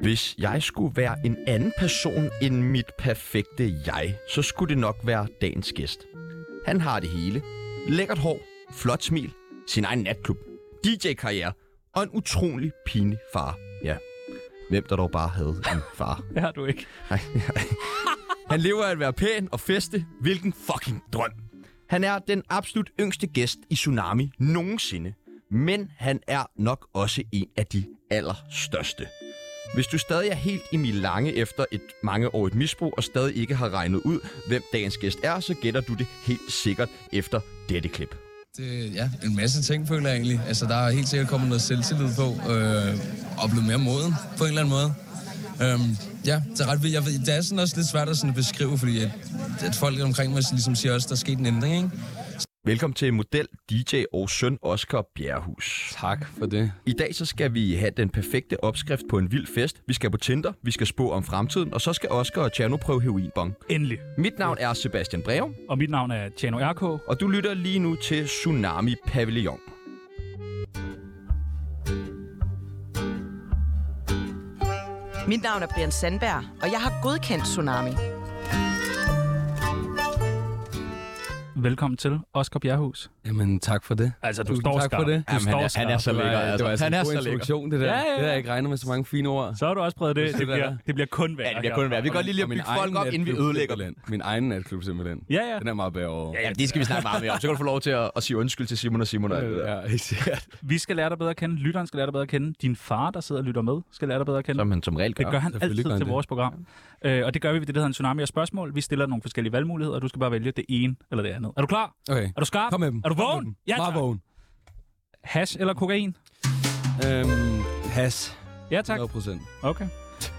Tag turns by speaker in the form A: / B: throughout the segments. A: Hvis jeg skulle være en anden person end mit perfekte jeg, så skulle det nok være dagens gæst. Han har det hele. Lækkert hår, flot smil, sin egen natklub, DJ-karriere og en utrolig pinlig far. Ja, hvem der dog bare havde en far.
B: Det har du ikke.
A: Nej, nej. Han lever af at være pæn og feste. Hvilken fucking drøm. Han er den absolut yngste gæst i Tsunami nogensinde. Men han er nok også en af de allerstørste. Hvis du stadig er helt i Milange efter et mange år et misbrug, og stadig ikke har regnet ud, hvem dagens gæst er, så gætter du det helt sikkert efter dette klip.
C: Det, ja, en masse ting, føler jeg egentlig. Altså, der er helt sikkert kommet noget selvtillid på, øh, og blevet mere moden på en eller anden måde. Øhm, ja, det er ret vildt. Jeg ved, det er sådan også lidt svært at sådan beskrive, fordi at, at folk omkring mig ligesom siger også, at der er sket en ændring, ikke?
A: Velkommen til model, DJ og søn Oscar Bjerrehus.
B: Tak for det.
A: I dag så skal vi have den perfekte opskrift på en vild fest. Vi skal på Tinder, vi skal spå om fremtiden, og så skal Oscar og Tjerno prøve heroinbong.
B: Endelig.
A: Mit navn er Sebastian Breum,
B: Og mit navn er Tjano RK.
A: og du lytter lige nu til Tsunami Pavillon.
D: Mit navn er Brian Sandberg, og jeg har godkendt Tsunami.
B: Velkommen til Oscar Bjerghus.
C: Jamen, tak for det.
B: Altså, du
C: Tusind
B: står
C: tak for
B: skarpt.
C: det.
B: Du står
A: han, er, han er
B: skarpt.
A: så lækker, altså.
C: det var altså
A: han
C: en
A: er
C: god
A: så lækker.
C: introduktion, det der.
B: Ja, ja, ja.
C: Det har jeg ikke regnet med så mange fine ord.
B: Så har du også prøvet det.
C: Det
B: Det bliver,
C: der.
B: det bliver kun værre.
A: Ja, det bliver kun værd. Vi kan godt lige lide at
C: Og min
A: bygge folk
C: egen
A: op, inden vi
C: natklub,
A: ødelægger dem.
C: simpelthen. Min egen natklub, simpelthen.
B: Ja, ja.
C: Den er meget bedre over.
A: Ja, det skal vi snakke meget mere om. Så kan du få lov til at, at sige undskyld til Simon og Simon og alt det der.
C: ja, helt sikkert.
B: Vi skal lære dig bedre at kende. Lytteren skal lære dig bedre at kende. Din far, der sidder og lytter med, skal lære dig bedre at kende.
A: Som han som regel gør.
B: Det gør han
C: selvfølgelig
B: altid
C: gør han
B: til
C: det.
B: vores program. Øh, og det gør vi ved det, der hedder en tsunami af spørgsmål. Vi stiller nogle forskellige valgmuligheder, og du skal bare vælge det ene eller det andet. Er du klar?
C: Okay.
B: Er du skarp?
C: Kom med dem.
B: Er du
C: Kom med
B: vågen?
C: dem.
B: Ja,
C: Meget
B: tak.
C: vågen.
B: Hash eller kokain?
C: Øhm, has.
B: Ja, tak.
C: 100 procent.
B: Okay.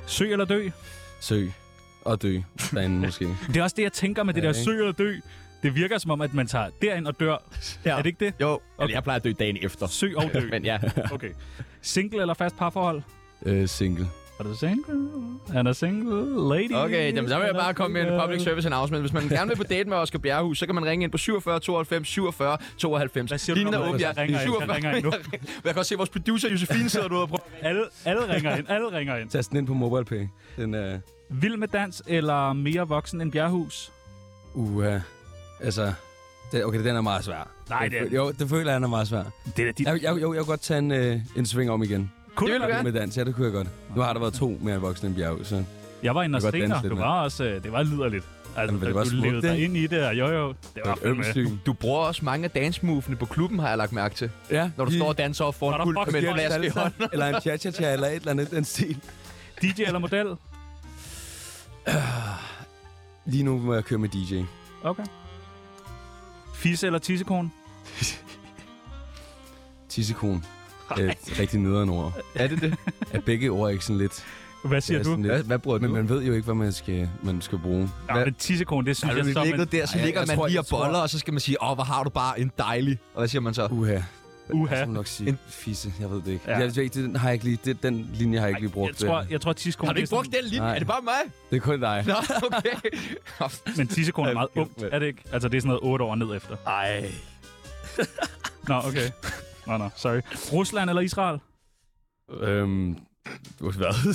B: Sø eller dø?
C: Søg. Og dø. Derinde måske.
B: Det er også det, jeg tænker med det
C: Ja,
B: der
C: ikke?
B: sø eller dø. Det virker som om, at man tager derind og dør.
A: Ja.
B: Er det ikke det?
A: Jo, okay. jeg plejer at dø dagen efter.
B: Sø og dø.
A: Men ja,
B: Okay. Single eller fast parforhold?
C: øh, single.
B: Er du single? Han er single. Lady.
A: Okay, jamen, så vil jeg bare komme med en
B: Øh.
A: public service announcement. Hvis man gerne vil på date med Oscar Bjerrehus, så kan man ringe ind på 47 92 47 92.
B: Hvad siger du, når
A: åben,
B: Lukas
A: jeg
B: ringer ind? Han ringer ind nu.
A: Jeg kan også se, at vores producer Josefine sidder derude og prøver.
B: Alle, alle ringer ind. Alle ringer ind.
C: Tast den ind på MobilePay. Den øh, er...
B: Vild med dans eller mere voksen end Bjerghus?
C: Uh, uha. altså... Det, okay, den er meget svær.
B: Nej,
C: Den
B: det er-
C: føl- Jo, det føler jeg, den er meget svær.
B: Det er da dit.
C: Jeg, jeg, jo, jeg kunne godt tage en, øh, en sving om igen.
B: Kunne
A: vil
B: du
A: du
B: godt?
A: gerne.
C: Med dans, ja, det kunne jeg godt. Nu har der været to mere voksne end bjerg, så...
B: Jeg var inde og
C: Jeg kan godt
B: stener.
C: danse lidt
B: Det
C: med.
B: var også... øh, Det var liderligt. Altså,
C: men det
B: da
C: var
B: du
C: smukt,
B: levede dig
C: ikke?
B: ind i det, og jo jo. Det var fandme...
C: Ømsyn.
A: Du bruger også mange af dancemovene på klubben, har jeg lagt mærke til.
C: Ja,
A: Når du
C: lige-
A: står og danser op
B: Når
A: foran
B: der
A: pult
B: fucking
A: med en
B: er en
A: flaske i
B: salsa.
A: hånden.
C: eller en cha-cha-cha, eller et eller andet i den stil.
B: DJ eller model?
C: Lige nu må jeg køre med DJ.
B: Okay. Fisse eller tissekone?
C: Tissekon. Øh, rigtig nederen ord.
A: Er det det?
C: Er begge ord ikke sådan lidt...
B: Hvad siger
C: er
B: du?
C: sådan lidt-
A: Hvad, hvad bruger du?
C: Men man ved jo ikke, hvad man skal, man skal bruge.
B: Ja, men tissekone, det synes
A: Har
B: jeg
A: du
B: så...
A: ligget der, så
C: Ej, jeg-
A: ligger
C: jeg
A: man
C: tror-
A: lige og
C: jeg tror-
A: boller, og så skal man sige, åh, hvor har du bare en dejlig... Og hvad siger man så?
C: Uha.
B: Uha.
C: Jeg skal nok sige fisse, jeg ved det ikke.
B: Ja.
C: Ja. Jeg, jeg, den, har jeg ikke lige, det, den linje har jeg ikke lige brugt.
B: Jeg tror, jeg tror tissekone...
A: Har du
B: det er
A: ikke brugt den linje?
C: Nej.
A: Er det bare mig?
C: Det er kun dig.
A: Nå, okay.
B: sådan- Men tissekone er meget
C: Ja,
B: ungt,
C: men-
B: er det ikke? Altså, det er sådan noget otte år ned efter.
A: Ej.
B: Nå, okay. Nå, nå, sorry. Rusland eller Israel?
C: Øhm, hvad?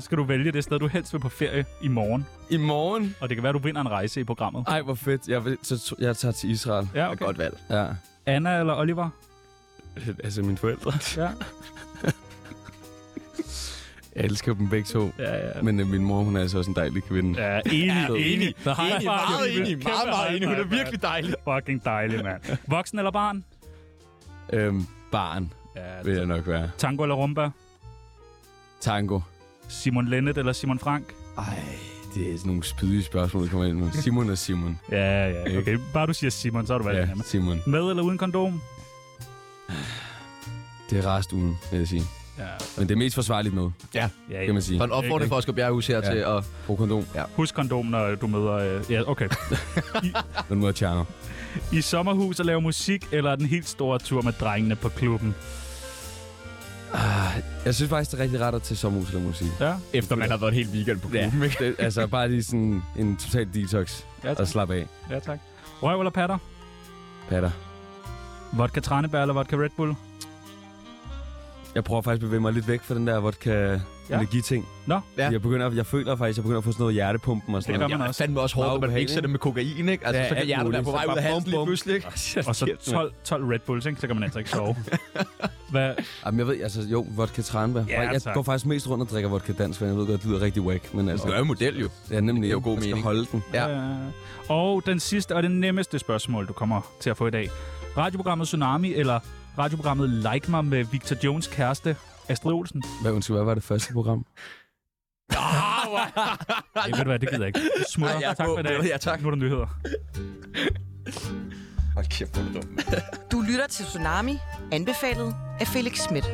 B: Så skal du vælge det sted, du helst vil på ferie i morgen.
C: I morgen?
B: Og det kan være, du vinder en rejse i programmet.
C: Ej, hvor fedt. Jeg, vil, så, t- jeg tager til Israel.
B: Ja,
A: Okay.
B: okay.
A: Godt valg.
C: Ja.
B: Anna eller Oliver?
C: Altså mine forældre.
B: Ja.
C: Jeg elsker dem begge to.
B: Ja, ja.
C: Men øh, min mor, hun er altså også en dejlig kvinde.
B: Ja, enig.
A: Ja, enig.
B: Så high
A: Enig,
B: five.
A: meget enig.
B: Kæmpe
A: Meget, meget
B: high
A: enig. Hun er
B: five,
A: virkelig dejlig.
B: mand. Fucking dejlig, mand. Voksen eller barn?
C: Øhm, barn
B: Ja,
C: vil jeg nok være.
B: Tango eller rumba?
C: Tango.
B: Simon Lennet eller Simon Frank?
C: Ej, det er sådan nogle spydige spørgsmål, der kommer ind med. Simon og Simon.
B: Ja, ja, okay. Bare du siger Simon, så har du valgt
C: Ja,
B: ja.
C: Simon.
B: Med eller uden kondom?
C: Det er rest ugen, vil jeg sige.
B: Ja,
C: Men det er mest forsvarligt med,
A: Ja.
B: ja,
C: kan
B: ja.
C: man sige.
A: Så en opfordring fra Oscar Bjerrehus her
C: Ja.
A: til at...
C: Brug kondom.
B: Husk kondom, når du møder... Øh, ja, okay.
C: Den måde tjerner.
B: I sommerhus at lave musik, eller den helt store tur med drengene på klubben?
C: Jeg synes faktisk, det er rigtig rart at tage sommerhus eller musik.
B: Ja,
A: Efter man har været en hel weekend på
C: Ja. Det, altså bare lige sådan en total detox
B: ja,
C: og
A: Altså-
B: tak.
C: slappe af.
B: ja tak. Røv eller patter?
C: Patter.
A: Altså,
B: Vodka Tranebær eller vodka Red Bull?
C: Jeg prøver faktisk at bevæge mig lidt væk fra den der vodka energiting.
B: Nå.
A: Ja.
C: Ja. Jeg, begynder, jeg føler faktisk, at jeg begynder at få sådan noget hjertepumpen og sådan
B: Det gør
C: noget.
B: man
A: Ja,
B: også.
A: fandme også hårdt,
C: Meget
A: når man
C: ubehageligt,
A: ikke sætter med kokain, ikke? Altså,
C: Ja,
A: så kan
C: alt
A: hjertet være
C: muligt.
A: på vej
C: Så
A: ud af
C: bare
A: halsen
C: bum,
A: lige
C: bum.
A: pludselig, ikke?
B: Og så 12, 12 Red Bulls, ikke? så kan man altså ikke sove. Hvad?
C: Jamen, jeg ved, altså jo, vodka tranbær.
B: Ja,
C: jeg
B: tak.
C: går faktisk mest rundt og drikker vodka dansk, men jeg ved godt, det lyder rigtig whack. Men altså,
A: Du er jo model, jo.
C: det er
A: det
C: nemlig
A: giver jo god
C: jeg skal
A: mening.
C: holde den.
A: Ja.
B: Øh, og den sidste og den nemmeste spørgsmål, du kommer til at få i dag. Radioprogrammet Tsunami eller radioprogrammet Like Mig med Victor Jones kæreste Astrid Olsen?
C: Hvad, undskyld, hvad var det første program?
B: Ej, ved du hvad, det gider jeg ikke. Det Smutter.
A: Ej, jeg er
B: tak
A: på.
B: for i dag.
A: Ja, tak.
B: Nu er der nyheder.
A: Hold kæft, hvor er du dum.
D: Du lytter til Tsunami, anbefalet af Felix Schmidt.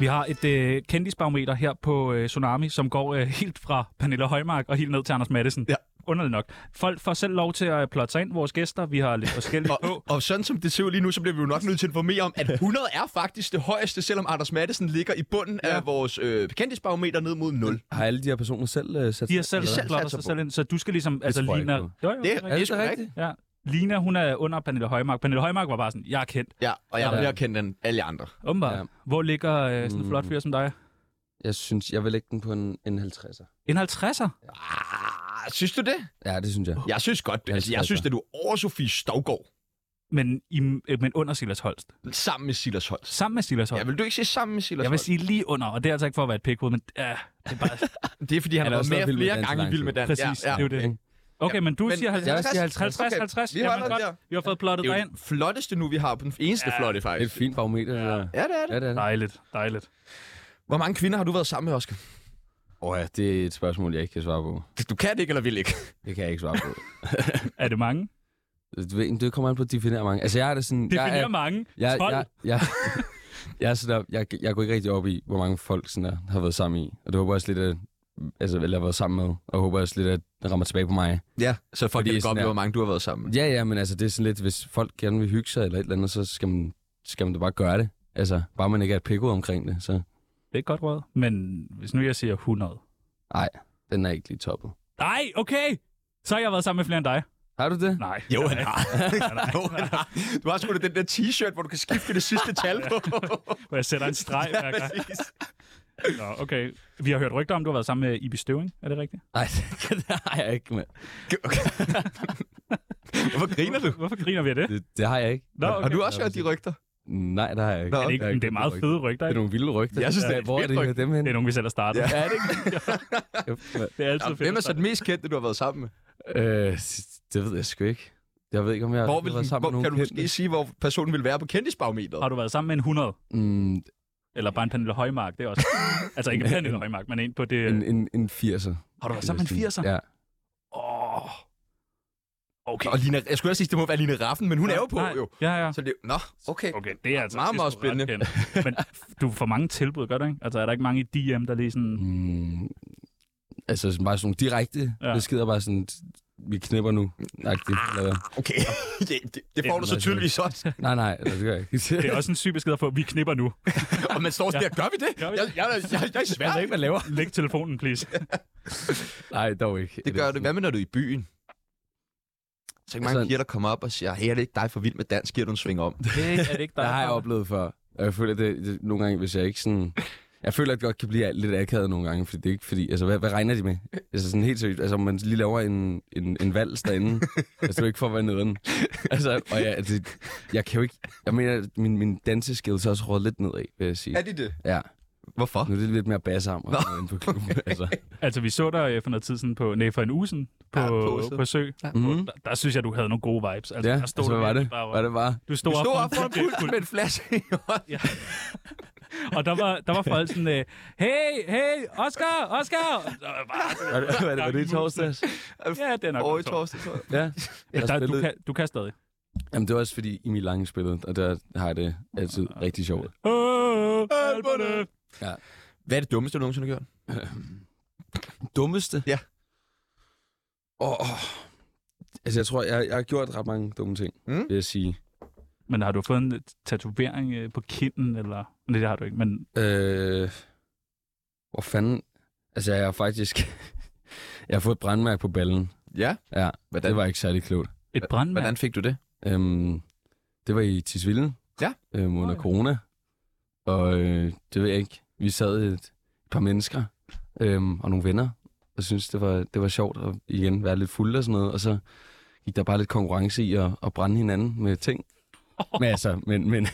B: Vi har et øh, kendisbarometer her på øh, Tsunami, som går øh, helt fra Pernille Højmark og helt ned til Anders Madsen.
A: Ja.
B: Underligt nok. Folk får selv lov til at plotte sig ind, vores gæster. Vi har lidt forskellige på.
A: Og, og sådan som det ser ud lige nu, så bliver vi jo nok nødt til at informere om, at 100 er faktisk det højeste, selvom Anders Madsen ligger i bunden ja. af vores øh, kendisbarometer ned mod 0.
C: Har alle de her personer selv uh, sat
B: De har selv
C: eller hvad?
A: selv satser
B: plotter sig
A: på.
B: selv ind, så du skal ligesom... Altså,
C: tror jeg
B: Lina,
C: ikke
B: jo,
C: på.
B: jo,
A: Det er
C: Er det
A: rigtigt.
C: så rigtigt?
B: Ja. Lina, hun er under Pernille Højmark. Pernille Højmark var bare sådan, jeg er kendt.
A: Ja, og jeg
C: Ja.
A: er mere kendt end alle jer andre.
B: Åbenbart. Ja.
C: Ja.
B: Hvor ligger øh,
A: Mm.
B: sådan en flot fyr som dig?
C: Jeg synes, jeg vil lægge den på en, en 50'er.
B: En 50'er?
A: Ah, synes du det?
C: Ja, det synes jeg.
A: Jeg synes godt det. Altså, jeg synes, at du er over Sofie Stovgaard
B: Men, i, øh, men under Silas Holst.
A: sammen med Silas Holst.
B: Sammen med Silas Holst.
A: Ja, vil du ikke sige sammen med Silas
B: jeg vil
A: Holst?
B: sige lige under, og det er altså ikke for at være et pikhoved, men øh, det er bare...
A: Det er, fordi han har
C: Han har
A: været
C: også været
A: med
C: Vild med
A: flere
C: Dans i
A: gange i
C: lang
A: Vild med
C: tid.
A: Dans.
B: Præcis,
A: Ja,
B: det er
A: ja.
B: jo det. Okay, men du
A: Men-
B: siger 50.
C: Jeg vil sige
B: 50, 50,
A: Okay,
B: 50.
A: vi holder
B: Jamen
A: den
B: godt,
A: der.
B: vi har fået plottet
A: Det
B: dig
A: er jo
B: ind.
A: den flotteste nu, vi har. Den eneste ja, flotte,
C: Det er et
A: faktisk.
C: fint barometer, det der.
A: Ja, det er det.
C: Ja, det er det.
B: Dejligt, dejligt.
A: Hvor mange kvinder har du været sammen med, Oscar?
C: Åh ja, det er et spørgsmål, jeg ikke kan svare på.
A: Du kan det ikke, eller vil ikke?
C: Det kan jeg ikke svare på.
B: Er det mange?
C: Du ved, det kommer an på at definere mange. Altså, jeg er det sådan... jeg,
B: Definér
C: er,
B: mange.
C: jeg,
B: 12.
C: jeg, jeg, jeg, er sådan der, jeg, jeg går ikke rigtig op i, hvor mange folk sådan der, har været sammen i. Og det håber jeg også lidt, at altså, eller har været sammen med, og håber også lidt, at det rammer tilbage på mig.
A: Ja, så folk
C: Fordi
A: kan det
C: sådan
A: godt
C: er-
A: hvor mange du har været sammen med.
C: Ja, ja, men altså, det er sådan lidt, hvis folk gerne vil hygge sig eller et eller andet, så skal man, skal man da bare gøre det. Altså, bare man ikke er et pikkud omkring det, så
B: Det er et godt råd. Men hvis nu jeg siger 100.
C: den er ikke lige toppet.
B: Nej, okay! Så har jeg været sammen med flere end dig.
C: Har du det?
B: Nej.
A: Jo, han har. Jo, han har. Du har sgu da den der t-shirt, hvor du kan skifte det sidste tal på.
B: Hvor jeg sætter en streg hver gang.
A: Præcis.
B: Nå, okay. Vi har hørt rygter om, du har været sammen med Ibi Støving. Er det rigtigt?
C: Nej, det har jeg ikke, mand.
A: Okay. Hvorfor griner du?
B: Hvorfor griner vi af det?
C: Det, det har jeg ikke.
B: Nå, okay.
A: Har du også hørt de rygter?
C: Nej, det har jeg ikke.
A: Nå.
B: er det, ikke,
C: Jeg
B: men det er meget
C: ikke-
B: fede rygter,
C: Det er
B: ikke?
C: nogle vilde rygter.
A: Jeg synes, det er
C: Ja,
A: et
C: Hvor er
A: fedt
C: det, I hører
A: rygte.
C: dem hen?
B: Det er nogen, vi selv har startet.
A: Ja.
C: Ja, det ikke?
B: Det er altid
A: Nå,
B: fedt.
A: Hvem er så
B: at
A: den mest kendte, du har været sammen med?
C: Øh, det ved jeg sgu ikke. Jeg ved ikke, om jeg
A: Hvor
C: har
A: vil,
C: været
A: den-
C: sammen
A: hvor,
C: med
A: kan
C: nogen
A: du måske sige, hvor personen vil være på kendtisbarometeret?
B: Har du været sammen med en 100?
C: Mm,
B: Eller bare en Pernille Højmark? Det er også... altså ikke en Pernille Højmark, men en på det...
C: en, en, en 80'er.
B: Har du været sammen med en 80'er?
C: Ja.
B: Åh. Okay.
A: Og Lina, jeg skulle også sige, det må være Line Raffen, men hun er jo på,
B: Nej.
A: jo.
B: Ja, ja.
A: Så det, nå, okay.
B: Okay, det er altså...
A: Meget,
B: det er
A: meget
B: sgu ret
A: spændende.
B: kendt. Men du får mange tilbud, gør du ikke? Altså er der ikke mange i DM, der lige sådan...
C: Mm, altså sådan bare sådan nogle direkte
B: Ja.
C: ja. beskeder, bare sådan, vi knipper nu. Agtigt, eller hvad?
A: Okay, altså- det, det, det får
C: Det
A: du
C: er
A: så
C: meget
A: tydeligvis også.
C: Nej, nej, altså, det gør jeg ikke.
B: Det er også en syg besked at få, vi knipper nu.
A: Og man står sådan der, gør vi det?
B: Gør
A: Jeg,
B: vi
A: jeg,
B: det?
A: jeg, jeg, jeg er i
C: ved
A: Sverige.
C: ikke, man laver.
B: Læg telefonen, please.
C: Nej, dog ikke.
A: Det gør det. Hvad med, når du er i byen? Så er mange
C: Altså-
A: piger, der kommer op og siger, hey, er det ikke dig for vild med dansk? Giver du en sving om?
B: Det er ikke- er det ikke dig?
C: Det har jeg
B: der-
C: oplevet før. Og jeg føler, det, det nogle gange, hvis jeg ikke sådan... Jeg føler, at det godt kan blive lidt akavet nogle gange, fordi det er ikke fordi... Altså, hvad, hvad regner de med? Altså, sådan helt seriøst. Altså, om man lige laver en, en, en vals derinde. altså, det er jo ikke for at være nederen. Altså, og jeg, det, jeg kan jo ikke... Jeg mener, at min, min danseskills er også råd lidt nedad, vil jeg sige.
A: de det?
C: Ja.
A: Hvorfor?
C: Nu er det lidt mere basarm og sådan noget inde på klubben. Altså.
B: Altså, vi så dig øh, for noget tid siden på, nej, for en uge siden på,
A: Ja, på
B: ja,
A: uge
B: på,
A: siden.
B: på sø.
C: Mm.
B: Der, der, synes jeg, du havde nogle gode vibes. Altså,
C: Ja,
B: der stod
C: altså, hvad
B: du
C: var
B: virkelig
C: det?
B: bare,
C: Var det bare...
B: Du stod,
A: Du
B: op,
A: står
B: foran
A: op foran
B: pulten.
A: pulten med en flaske i hånden.
B: Og der var, der var folk sådan, øh, hey, hey, Oscar, Oscar! Og jeg bare,
C: Var det, var det, var det i torsdags?
B: Ja, det er nok.
A: Over i
B: en tår.
A: torsdag, tror jeg.
C: Ja.
B: Ja,
C: Jeg
B: der, du,
C: spillede-
B: kan, du kan stadig.
C: Jamen, det var også fordi, i mit lange spillet, og der har jeg det altid
B: Ah,
C: rigtig sjovt.
B: Åh, alberne.
A: Alberne. Hvad er det dummeste, du nogensinde har gjort?
C: Øhm. Dummeste?
A: Ja.
C: Åh, oh, altså jeg tror, jeg, jeg har gjort ret mange dumme ting,
A: Mm.
C: mm. vil jeg sige.
B: Men har du fået en tatovering øh, på kinden, eller... Nej, det har du ikke, men...
C: Øh, hvor fanden... Altså jeg har faktisk... jeg har fået et brandmærke på ballen.
A: Ja.
C: Ja,
A: Hvordan,
C: det var ikke særlig klogt.
B: Et brandmærke.
A: hvordan fik du det?
C: Øhm, det var i Tisvilde,
A: Ja.
C: Øhm, under corona. Og øh, det ved jeg ikke. Vi sad et par mennesker øhm, og nogle venner, og synes det var, det var sjovt at igen være lidt fulde og sådan noget. Og så gik der bare lidt konkurrence i at, at brænde hinanden med ting. Men altså, men, men,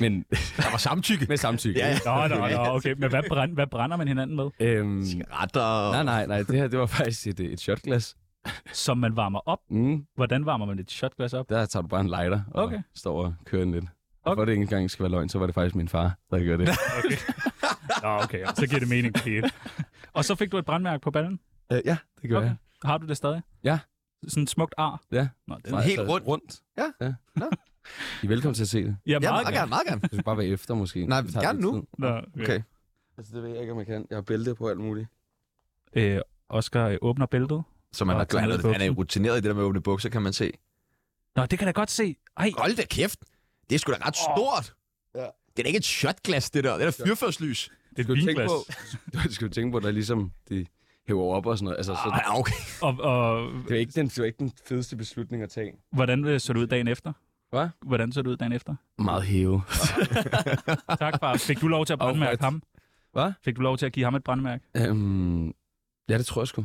C: men
A: Der var samtykke.
C: med samtykke.
A: Ja, ja.
B: Nå, nå, nå, okay. Men hvad, brænd, hvad brænder man hinanden med?
C: Øhm,
A: Mm. Cigaretter.
C: nej, nej, nej. Det her, det var faktisk et, øh, et shotglas.
B: Som man varmer op.
C: Mm,
B: Hvordan varmer man et shotglas op?
C: der tager du bare en lighter og
B: Okay.
C: okay. står og kører den lidt. Okay.
B: Okay.
C: For det ikke engang skal være løgn, så var det faktisk min far, der gjorde det.
B: Okay. Nå, okay. Så giver det mening. det hele. Og så fik du et brandmærke på ballen.
C: Øh, ja, det gør
B: Okay.
C: okay. jeg.
B: Har du det stadig?
C: Ja.
B: Sådan et smukt ar?
C: Ja.
B: Nå, det
C: Nej,
B: er...
A: helt
C: altså,
A: rundt.
C: rundt.
A: Ja.
C: ja. Nå. I er velkommen til at se det.
B: Ja,
A: Ja,
B: meget
A: meget gerne, meget gerne.
C: Du skal bare være efter, måske.
A: Nej,
C: Det tager
A: gerne
C: lidt
A: nu.
C: tid.
B: gerne. Nå,
A: Okay.
C: Altså, det ved jeg ikke, om jeg kan. Jeg har bælte på alt muligt.
B: Øh, Oscar øh, åbner bæltet.
A: Så man
B: Og
A: har
B: tager
A: han,
B: ned i
A: er- han er jo rutineret i det der med at åbne bukser, kan man se.
B: Nå, det kan jeg da godt se. Ej,
A: Hold da kæft. Det er sgu da ret stort.
C: Ja.
A: Det er da ikke et shotglas, det der. Det er da fyrførslys.
B: det er
C: Du
B: et
C: skal tænke
B: vinglas.
C: på, du skal jo tænke på, at der er ligesom, de hæver op og sådan noget. Altså, så,
A: Ej, okay.
B: Og, og
C: det, var ikke den, det var ikke den fedeste beslutning at tage.
B: hvordan øh, så det ud dagen efter?
C: Hvad?
B: Hvordan så det ud dagen efter?
C: Meget hæve.
B: Tak, far. Fik du lov til at brandmærke ham?
C: Hvad?
B: Fik du lov til at give ham et brandmærke?
C: Øhm, ja, det tror jeg sgu.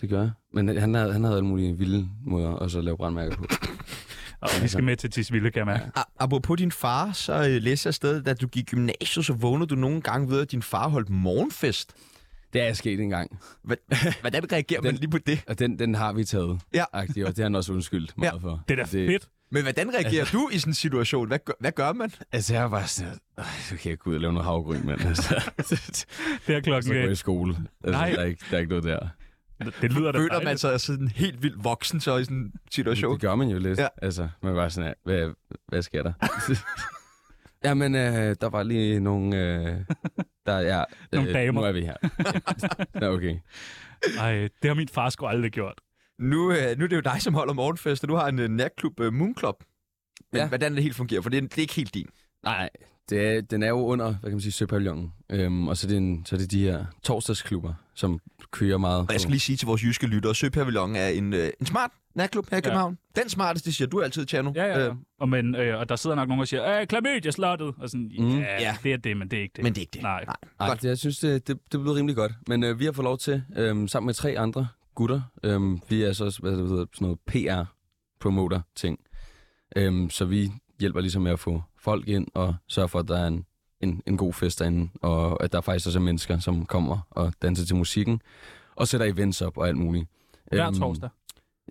C: Det gør jeg. Men han havde, han havde alle mulige vilde måder at så lave brandmærker på.
B: Og vi
A: Altså-
B: skal med til Tisvilde, kan jeg mærke.
A: A- Ah, apropos din far, så øh, læste jeg stadig, at du gik i gymnasiet, så vågnede du nogle gange ved, at din far holdt morgenfest.
C: Det er sket engang.
A: Hva- Hvordan reagerer man
C: Den-
A: lige på det?
C: Og den, den har vi taget.
A: Ja.
C: Agtig, og det har han også undskyldt meget ja. for.
B: Det er da fedt.
A: Men hvordan reagerer du i sådan en situation? Hvad gør, hvad gør man?
C: Altså, jeg var bare sådan, "Ej, så kan jeg ikke ud og lave noget havgryn, mand. Altså,
B: Det er
C: så
B: klokken.
C: går jeg i
B: øh,
C: skole. Altså,
B: Nej.
C: der, er ikke, der er ikke noget der.
B: Det lyder da
A: Føler man
B: dejligt.
A: sig sådan helt vildt voksen så i sådan en situation?
C: Det gør man jo lidt.
A: Ja.
C: Ja. Altså, man var sådan, "Ja, hvad, hvad sker der? Jamen, øh, der var lige nogle... Øh, der, ja, øh,
B: Nogle damer.
C: Nu er vi her. Nå, okay.
B: Ej, det har min far sgu aldrig gjort.
A: Nu, øh, nu er det jo dig, som holder morgenfest, og du har en øh, natklub, øh, Moon Club. Men ja.
C: Ja.
A: hvordan det helt fungerer, for det er, det er ikke helt din.
C: Nej, det er, den er jo under, hvad kan man sige, Søpavillonen. Øhm, og så er, det en, så er det de her torsdagsklubber, som kører meget.
A: Og jeg skal lige sige til vores jyske lyttere, Søpavillon er en, øh, en smart natklub her i
B: Ja.
A: København. Den smarteste, siger du altid, Tjerno.
B: Ja, ja.
A: Øh,
B: Øh. Og, men, øh, og der sidder nok nogen og siger, øh, klamydia-slottet. Og sådan, ja,
C: Mm.
A: Ja.
B: yeah, det er det, men det er ikke det.
A: Øh, men det er ikke det.
B: Nej.
C: Ej,
A: Godt.
C: det, jeg synes, det, det, det blev rimelig godt. Men øh, vi har fået lov til, øh, sammen med tre andre gutter, øh, vi er så også, hvad det hedder, sådan noget PR-promoter-ting. Øh, så vi hjælper ligesom med at få folk ind og sørge for, at der er en, en, en god fest derinde, og at der faktisk også er mennesker, som kommer og danser til musikken, og sætter events op og alt muligt.
B: Hver
C: Øhm,
B: torsdag.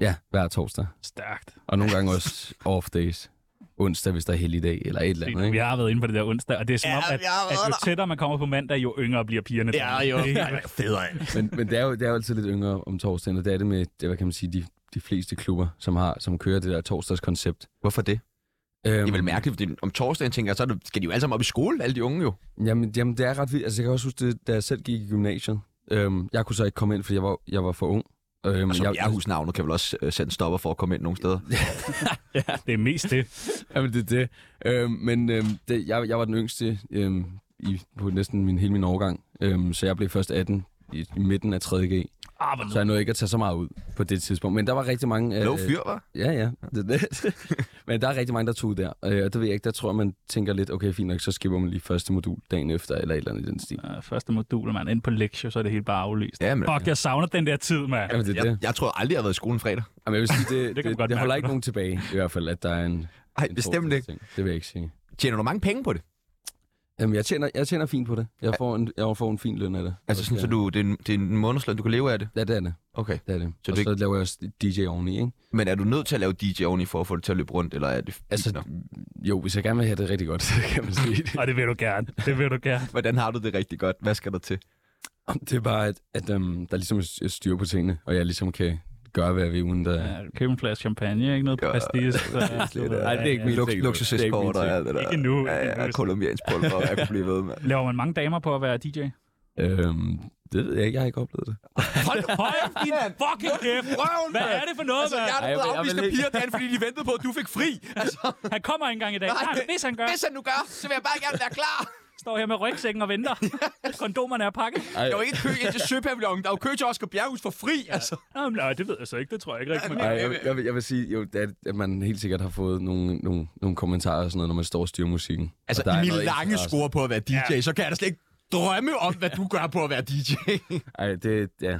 C: Ja, hver torsdag.
B: Stærkt.
C: Og nogle gange også off days. Onsdag, hvis der er helligdag, eller et eller andet.
B: Vi
C: Ikke?
B: har været inde på det der onsdag, og det er som
A: Ja,
B: om, at,
A: vi har
B: at
A: været
B: jo
A: der.
B: tættere man kommer på mandag, jo yngre bliver pigerne.
A: Ja, jo.
B: Det er helt-
A: federe af.
C: Men, men det, er jo, det er jo altid lidt yngre om torsdagen, og det er det med, det, hvad kan man sige, de, de fleste klubber, som, har, som kører det der torsdagskoncept.
A: Hvorfor det?
C: Øhm,
A: Det er vel mærkeligt, fordi om torsdagen tænker jeg, så er det- skal de jo alle sammen op i skole, alle de unge jo.
C: Jamen, jamen, det er ret vildt. Altså, jeg kan også huske, det, da jeg selv gik i gymnasiet. Øhm, jeg kunne så ikke komme ind, fordi jeg var, jeg var for ung. Øhm,
A: Og som Altså, jeg husker navnet, kan vel også øh, sætte en stopper for at komme ind nogle steder.
B: Det er mest det.
C: Jamen, det er det. Øhm, men øhm, det, jeg, jeg var den yngste øhm, i, på næsten min, hele min årgang, øhm, så jeg blev først 18 i, i midten af 3.G.
B: Ah, hvor
C: Så jeg nåede ikke at tage så meget ud på det tidspunkt. Men der var rigtig mange... øh,
A: Low fyr, var?
C: Ja, ja. Det, det. Men der er rigtig mange, der tog der. Øh, Og det ved jeg ikke, der tror jeg, man tænker lidt, okay, fint nok, så skipper man lige første modul dagen efter, eller et eller andet i den stil.
B: nu- Øh, Første modul, man ind på lektier, så er det helt bare aflyst.
A: Ja, men
B: Fuck, jeg savner den der tid, mand.
C: Jamen, det er
A: jeg,
C: det.
A: jeg tror aldrig, jeg har været i skolen fredag.
C: Jamen, jeg vil sige, det,
B: Det
C: det,
B: kan man
C: det,
B: godt
C: det holder
B: mærke
C: ikke
B: på
C: nogen tilbage, i hvert fald, at der er en...
A: Nej,
C: en
A: bestemt ikke.
C: torsdagsting. Det vil jeg ikke sige.
A: Tjener du mange penge på det?
C: Jamen, jeg tjener, jeg tjener fint på det. Jeg får en, jeg får en fin løn af det.
A: Altså sådan, så du, det, er en, det er en månedsløn, du kan leve af det?
C: Ja, det er det.
A: Okay.
C: det, er det.
A: Så
C: Så og
A: det
C: så laver jeg også DJ oveni, ikke?
A: Men er du nødt til at lave DJ oveni for at få det til at løbe rundt, eller er det...
C: Altså,
A: Nå.
C: jo, hvis jeg gerne vil have det rigtig godt, så kan man sige det.
B: Og det vil du gerne. Det vil du gerne.
A: Hvordan har du det rigtig godt? Hvad skal der til?
C: Det er bare, at, at um, der ligesom er styr på tingene, og jeg ligesom kan gøre, hvad jeg vil, uden der er
B: Ja, køb en flaske champagne, ikke noget
A: Ja.
B: pastis.
C: Ej, det er ikke min
A: Lux,
C: ting,
A: Luksusescort og
C: det er
A: alt det der.
B: Ikke nu,
A: Ja,
B: ikke
A: ja,
B: nu. Altså,
A: kolumbiansk pulver, og jeg kunne blive ved med.
B: Laver man mange damer på at være DJ?
C: Øhm, det ved jeg ikke. Jeg har ikke oplevet det.
B: Hold højt din fucking kæft!
A: Røven,
B: Hvad er det for noget,
A: Jeg er
B: mand?
A: da
C: Ej,
A: blevet
C: jeg vil- jeg
A: afvist
C: vil
A: af
C: ikke.
A: piger, Dan, fordi de ventede på, at du fik fri. Altså,
B: Han kommer ikke engang i dag.
A: Nej,
B: Nej, men hvis han gør,
A: hvis han nu gør, så vil jeg bare gerne være klar.
B: Står her med rygsækken og venter. Kondomerne er pakket.
E: Der var ikke kø ind til Søpavillonen. Der var kø til Oscar Bjerghus for fri, altså.
B: Nå, men nej, det ved jeg så ikke. Det tror jeg ikke rigtig, man
C: Nej,
B: gør.
C: jeg, vil- jeg, vil, jeg vil sige, jo, at, at man helt sikkert har fået nogle, nogle, nogle kommentarer og sådan noget, når man står og styrer musikken.
E: Altså,
C: Og der er
E: Emil
C: noget
E: Lange
C: interesse.
E: scorer på at være DJ, så kan jeg da slet ikke drømme om, hvad du gør på at være DJ.
C: Ej, det, ja,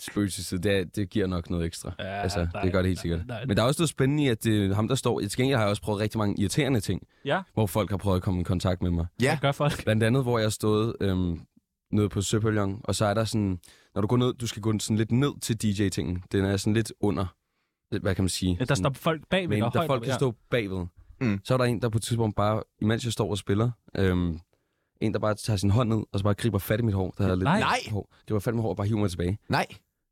C: spøg til side, det, er- det giver nok noget ekstra.
B: Ja,
C: Ja, altså,
B: nej,
C: det gør det helt sikkert.
B: nej, nej.
C: Men der er også noget spændende i, at det er ham, der står... Til gengæld har jeg også prøvet rigtig mange irriterende ting,
B: Ja.
C: hvor folk har prøvet at komme i kontakt med mig.
E: Ja.
B: Hvad gør folk?
C: Blandt andet, hvor jeg har stået øhm, nede på Søpavillon, og så er der sådan... Når du går ned, du skal gå sådan lidt ned til DJ-tingen. Den er sådan lidt under... Hvad kan man sige?
B: Ja, der står folk bag ved
C: men
B: dig.
C: der
B: højt
C: folk
B: op,
C: kan
B: ja.
C: stå bagved.
E: Mm.
C: Mm. Så er der en, der på et tidspunkt bare, imens jeg står og spiller, øhm, en, der bare tager sin hånd ned, og så bare griber fat i mit hår, der er lidt
B: Nej.
E: Nej.
C: hår. Griber fat i mit hår og bare hiver mig tilbage.
E: Nej.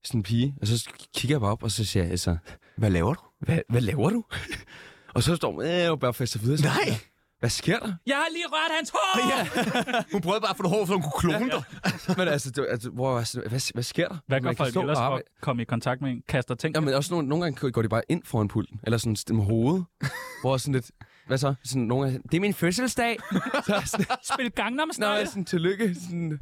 C: Sådan en pige, og så kigger jeg bare op, og så siger jeg altså,
E: Hvad laver du?
C: hvad, hvad laver du? og så står hun, øh, og bare fester videre. Så
E: Nej.
C: siger jeg, Hvad sker der?
B: Jeg har lige rørt hans hår!
E: Ja. Hun prøvede bare at få det hår, så hun kunne klone dig.
C: Men altså, det, var- altså hvor, jeg var sådan, hvad, hvad sker der?
B: Hvad
C: Man
B: gør
C: kan
B: folk
C: stå
B: ellers
C: og
B: for
C: arbejde-
B: at komme i kontakt med en? Kaster ting?
C: Ja, men også nogle, nogle gange går de bare ind foran pulten, eller sådan stemmer hovedet, hvor jeg sådan lidt, hvad så? Sådan, nogle gange, det er min fødselsdag. så er jeg sådan,
B: Spil Gangnam
C: Nå, jeg er
B: Style?
C: sådan, tillykke. Sådan,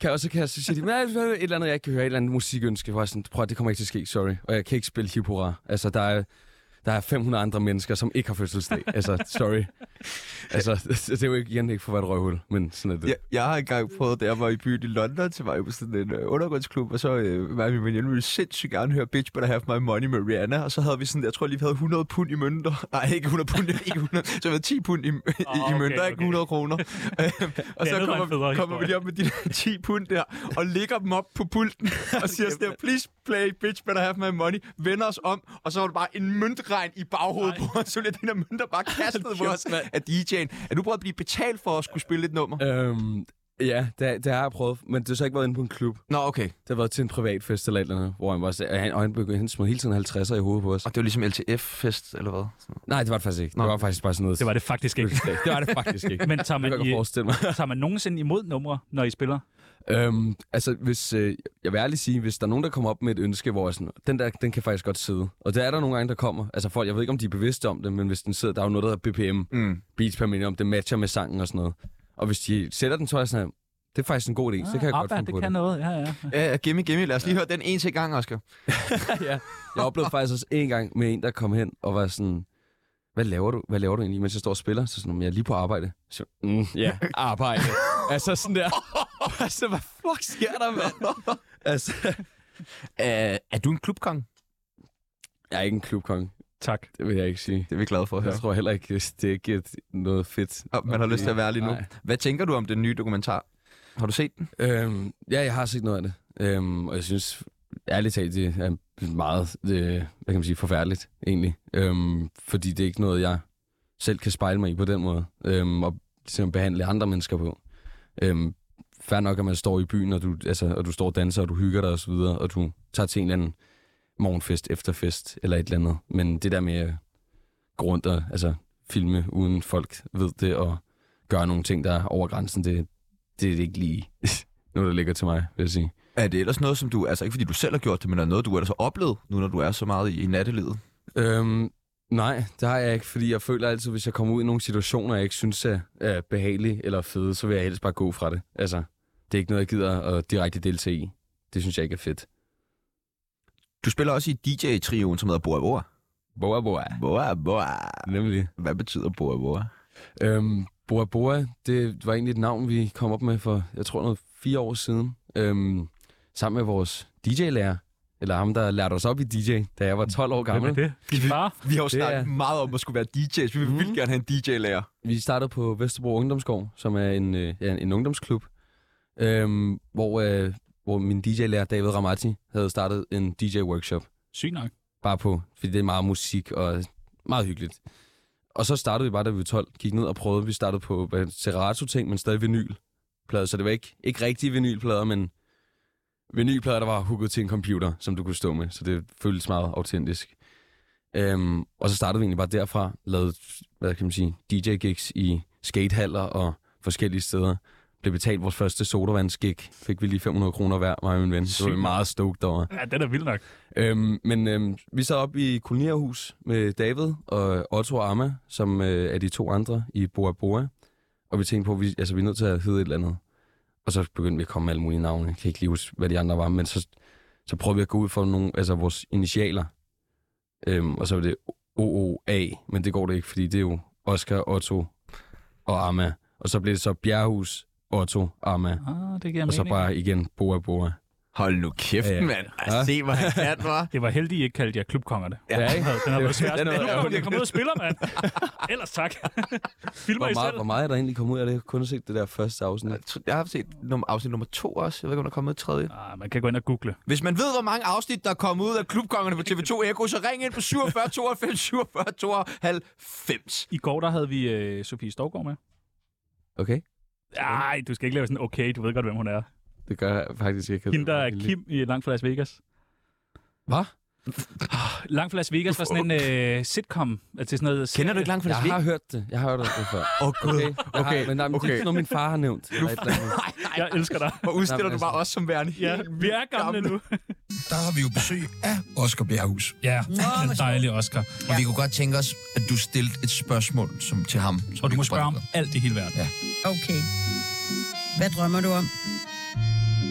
C: kan også kan jeg så sige, de, "Men et eller andet, jeg ikke kan høre, et eller andet musikønske, hvor jeg sådan, prøv at det kommer ikke til at ske, sorry. Og jeg kan ikke spille hip hurra. Altså, der er, der er 500 andre mennesker, som ikke har fødselsdag. Altså, sorry. Altså, det er jo ikke, igen ikke for at være et røvhul, men sådan er det.
A: Jeg, jeg har engang prøvet, da jeg var i byen i London, så var jeg på sådan en øh, undergrundsklub, og så øh, var min veninde, ville sindssygt gerne høre Bitch Better Have My Money med Rihanna, og så havde vi sådan, jeg tror lige, vi havde 100 pund i mønter. Nej, ikke 100 pund, ikke 100, så vi havde 10 pund i, i,
B: okay,
A: i mønter, okay,
B: okay.
A: ikke 100 kroner. Øhm, og
B: Det
A: så
B: andet var en
A: kommer,
B: federe
A: kommer vi
B: historie.
A: lige op med de der 10 pund der, og lægger dem op på pulten, og siger sådan der, please play Bitch Better Have My Money, vender os om, og så var det bare en møntregn i baghovedet på os, så lidt den der mønter bare kastet på os af DJ'en. Er du prøvet at blive betalt for at skulle spille et nummer?
C: Øhm, ja, det, det, har jeg prøvet, men det har så ikke været inde på en klub.
E: Nå, okay.
C: Det har været til en privat fest eller et eller andet, hvor han var så, og han, og han, begyndte- han smed hele tiden 50'er i hovedet på os.
E: Og det var ligesom LTF-fest, eller hvad?
C: Nej, det var det faktisk ikke. Det var faktisk bare sådan noget.
B: Det var det faktisk ikke.
C: det, var det faktisk ikke.
B: Men tager
C: det
B: man,
C: kan jeg
B: i,
C: godt forestille mig.
B: tager man nogensinde imod numre, når I spiller?
C: Øhm, altså, hvis, øh, jeg vil ærligt sige, hvis der er nogen, der kommer op med et ønske, hvor jeg sådan, den der, den kan faktisk godt sidde. Og det er der nogle gange, der kommer. Altså folk, jeg ved ikke, om de er bevidste om det, men hvis den sidder, der er jo noget, der hedder BPM, mm. beats per minute, om det matcher med sangen og sådan noget. Og hvis de sætter den, så er jeg sådan, det er faktisk en god idé, så kan jeg
B: Ah,
C: godt
B: Abba,
C: finde på
B: det kan
C: det.
B: noget, ja, ja.
E: Ja, ja, gimme, gimme. Lad os lige høre den en til gang, Oscar.
C: Jeg oplevede faktisk også en gang med en, der kom hen og var sådan, hvad laver du, hvad laver du egentlig, mens jeg står og spiller? Så sådan, "Jamen, jeg er lige på arbejde. Så, mm, ja, arbejde. altså sådan der. altså, hvad fuck sker der, mand? altså,
E: Uh, er du en klubkong?
C: jeg er ikke en klubkong.
B: Tak.
C: Det vil jeg ikke sige.
E: Det er vi glade for at høre.
C: Jeg tror heller ikke, det er ikke et- noget fedt.
E: Oh, man har lyst til at være lige nu.
C: Nej.
E: Hvad tænker du om den nye dokumentar? Har du set den?
C: Øhm, ja, jeg har set noget af det. Øhm, og jeg synes, ærligt talt, det er meget, øh, hvad kan man sige, forfærdeligt egentlig. Øhm, fordi det er ikke noget, jeg selv kan spejle mig i på den måde. Øhm, og simpelthen behandle andre mennesker på. Øhm, fair nok, at man står i byen, og du, altså, og du står og danser, og du hygger dig osv., og du tager til en eller anden morgenfest, efterfest eller et eller andet. Men det der med at gå rundt og altså, filme, uden folk ved det, og gøre nogle ting, der er over grænsen, det, det er ikke lige noget, der ligger til mig, vil jeg sige.
E: Er det ellers noget, som du... Altså ikke fordi du selv har gjort det, men er noget, du ellers har oplevet, nu når du er så meget i, i nattelivet?
C: Øhm, nej, det har jeg ikke, fordi jeg føler altid, hvis jeg kommer ud i nogle situationer, jeg ikke synes er, er behagelige eller fede, så vil jeg helst bare gå fra det. Altså, det er ikke noget, jeg gider at direkte deltage i. Det synes jeg ikke er fedt.
E: Du spiller også i DJ-trioen, som hedder Boa Boa.
C: Boa boa.
E: Boa Boa.
C: Nemlig.
E: Hvad betyder Boa Boa?
C: Øhm, boa boa, det var egentlig et navn, vi kom op med for, jeg tror, noget fire år siden. Øhm, sammen med vores DJ-lærer, eller ham, der lærte os op i DJ, da jeg var 12 år
B: Hvem
C: gammel.
B: er det? Din far?
E: Vi har jo
C: Det
E: snakket
C: er-
E: meget om at skulle være DJ's. Vi vil mm. vildt gerne have en DJ-lærer.
C: Vi startede på Vesterbro Ungdomsgård, som er en, øh, ja, en ungdomsklub, øhm, hvor, øh, hvor min DJ-lærer David Ramati havde startet en DJ-workshop.
B: Sygt nok.
C: Bare på, fordi det er meget musik og meget hyggeligt. Og så startede vi bare, da vi var 12, gik ned og prøvede. Vi startede på hvad, Serato-ting, men stadig vinylplader. Så det var ikke, ikke rigtige vinylplader, men vinylplader, der var hugget til en computer, som du kunne stå med. Så det føltes meget autentisk. Øhm, og så startede vi egentlig bare derfra, lavede, hvad kan man sige, DJ-gigs i skatehaller og forskellige steder. Blev betalt vores første sodavandsgig. Fik vi lige 500 kroner hver, mig og min ven. Så var vi
B: Sygt.
C: meget stoked over.
B: Ja, den er vild nok.
C: Øhm, men øhm, vi sad op i kolonierhus med David og Otto og Amma, som øh, er de to andre i Boa Boa. Og vi tænkte på, at vi, altså, vi er nødt til at hedde et eller andet. Og så begyndte vi at komme med alle mulige navne. Jeg kan ikke lige huske, hvad de andre var, men så, så prøvede vi at gå ud for nogle, altså vores initialer. Øhm, og så var det OOA, men det går det ikke, fordi det er jo Oscar, Otto og Arma. Og så blev det så Bjerghus, Otto, Arma.
B: Ah, det giver
C: Og så
B: mening.
C: bare igen Boa Boa.
A: Hold nu kæft,
C: Ja,
A: ja,
C: ja.
A: ja. mand. Ja. Se, hvor han kan, var.
B: Det var heldigt, I ikke kaldte jer klubkongerne.
C: Ja, ikke?
B: Den har været svært.
C: Den
B: Den
C: er-
B: er jo kommet ud og spiller, mand. Ellers tak. Filmer I
C: Hvor meget,
B: selv.
C: hvor meget er der egentlig kommet ud af det? Jeg har kun set det der første afsnit.
A: Jeg tror- Jeg har set nummer, afsnit nummer to også. Jeg ved ikke, om der er kommet et tredje.
B: Ah, man kan gå ind og google.
A: Hvis man ved, hvor mange afsnit, der er kommet ud af klubkongerne på TV2 Eko, så ring ind på 47 92 47 92.
B: I går der havde vi øh, Sofie Storgård med.
C: Okay?
B: Nej, du skal ikke lave sådan, okay, du ved godt, hvem hun er.
C: Det gør jeg faktisk ikke.
B: Hende, der er Kim i Langt fra Las Vegas.
C: Hvad?
B: Langt fra Las Vegas var sådan en øh, sitcom. Altså sådan noget
A: Kender du ikke langt fra
C: Jeg
A: Las Vegas?
C: har hørt det. Jeg har hørt det før.
A: Åh, oh, gud.
C: Okay, jeg
A: Okay,
C: Har, men, nej, men det
A: okay.
C: er sådan noget, min far har nævnt. Eller et eller andet.
A: Nej, nej,
B: Jeg elsker dig.
A: Hvor udstiller
C: Jamen,
A: du bare os som værende
B: Ja,
A: helt
B: vi er gamle nu.
F: altså. der har vi jo besøg af Oscar Bjerghus.
G: Ja, den dejlige Oscar.
F: Og vi kunne godt tænke os, at du stillede et spørgsmål som, til ham. som
G: Og du
F: vi
G: må
F: kunne
G: spørge om
F: godt-
G: alt i hele verden.
F: Ja.
H: Okay. Hvad drømmer du om?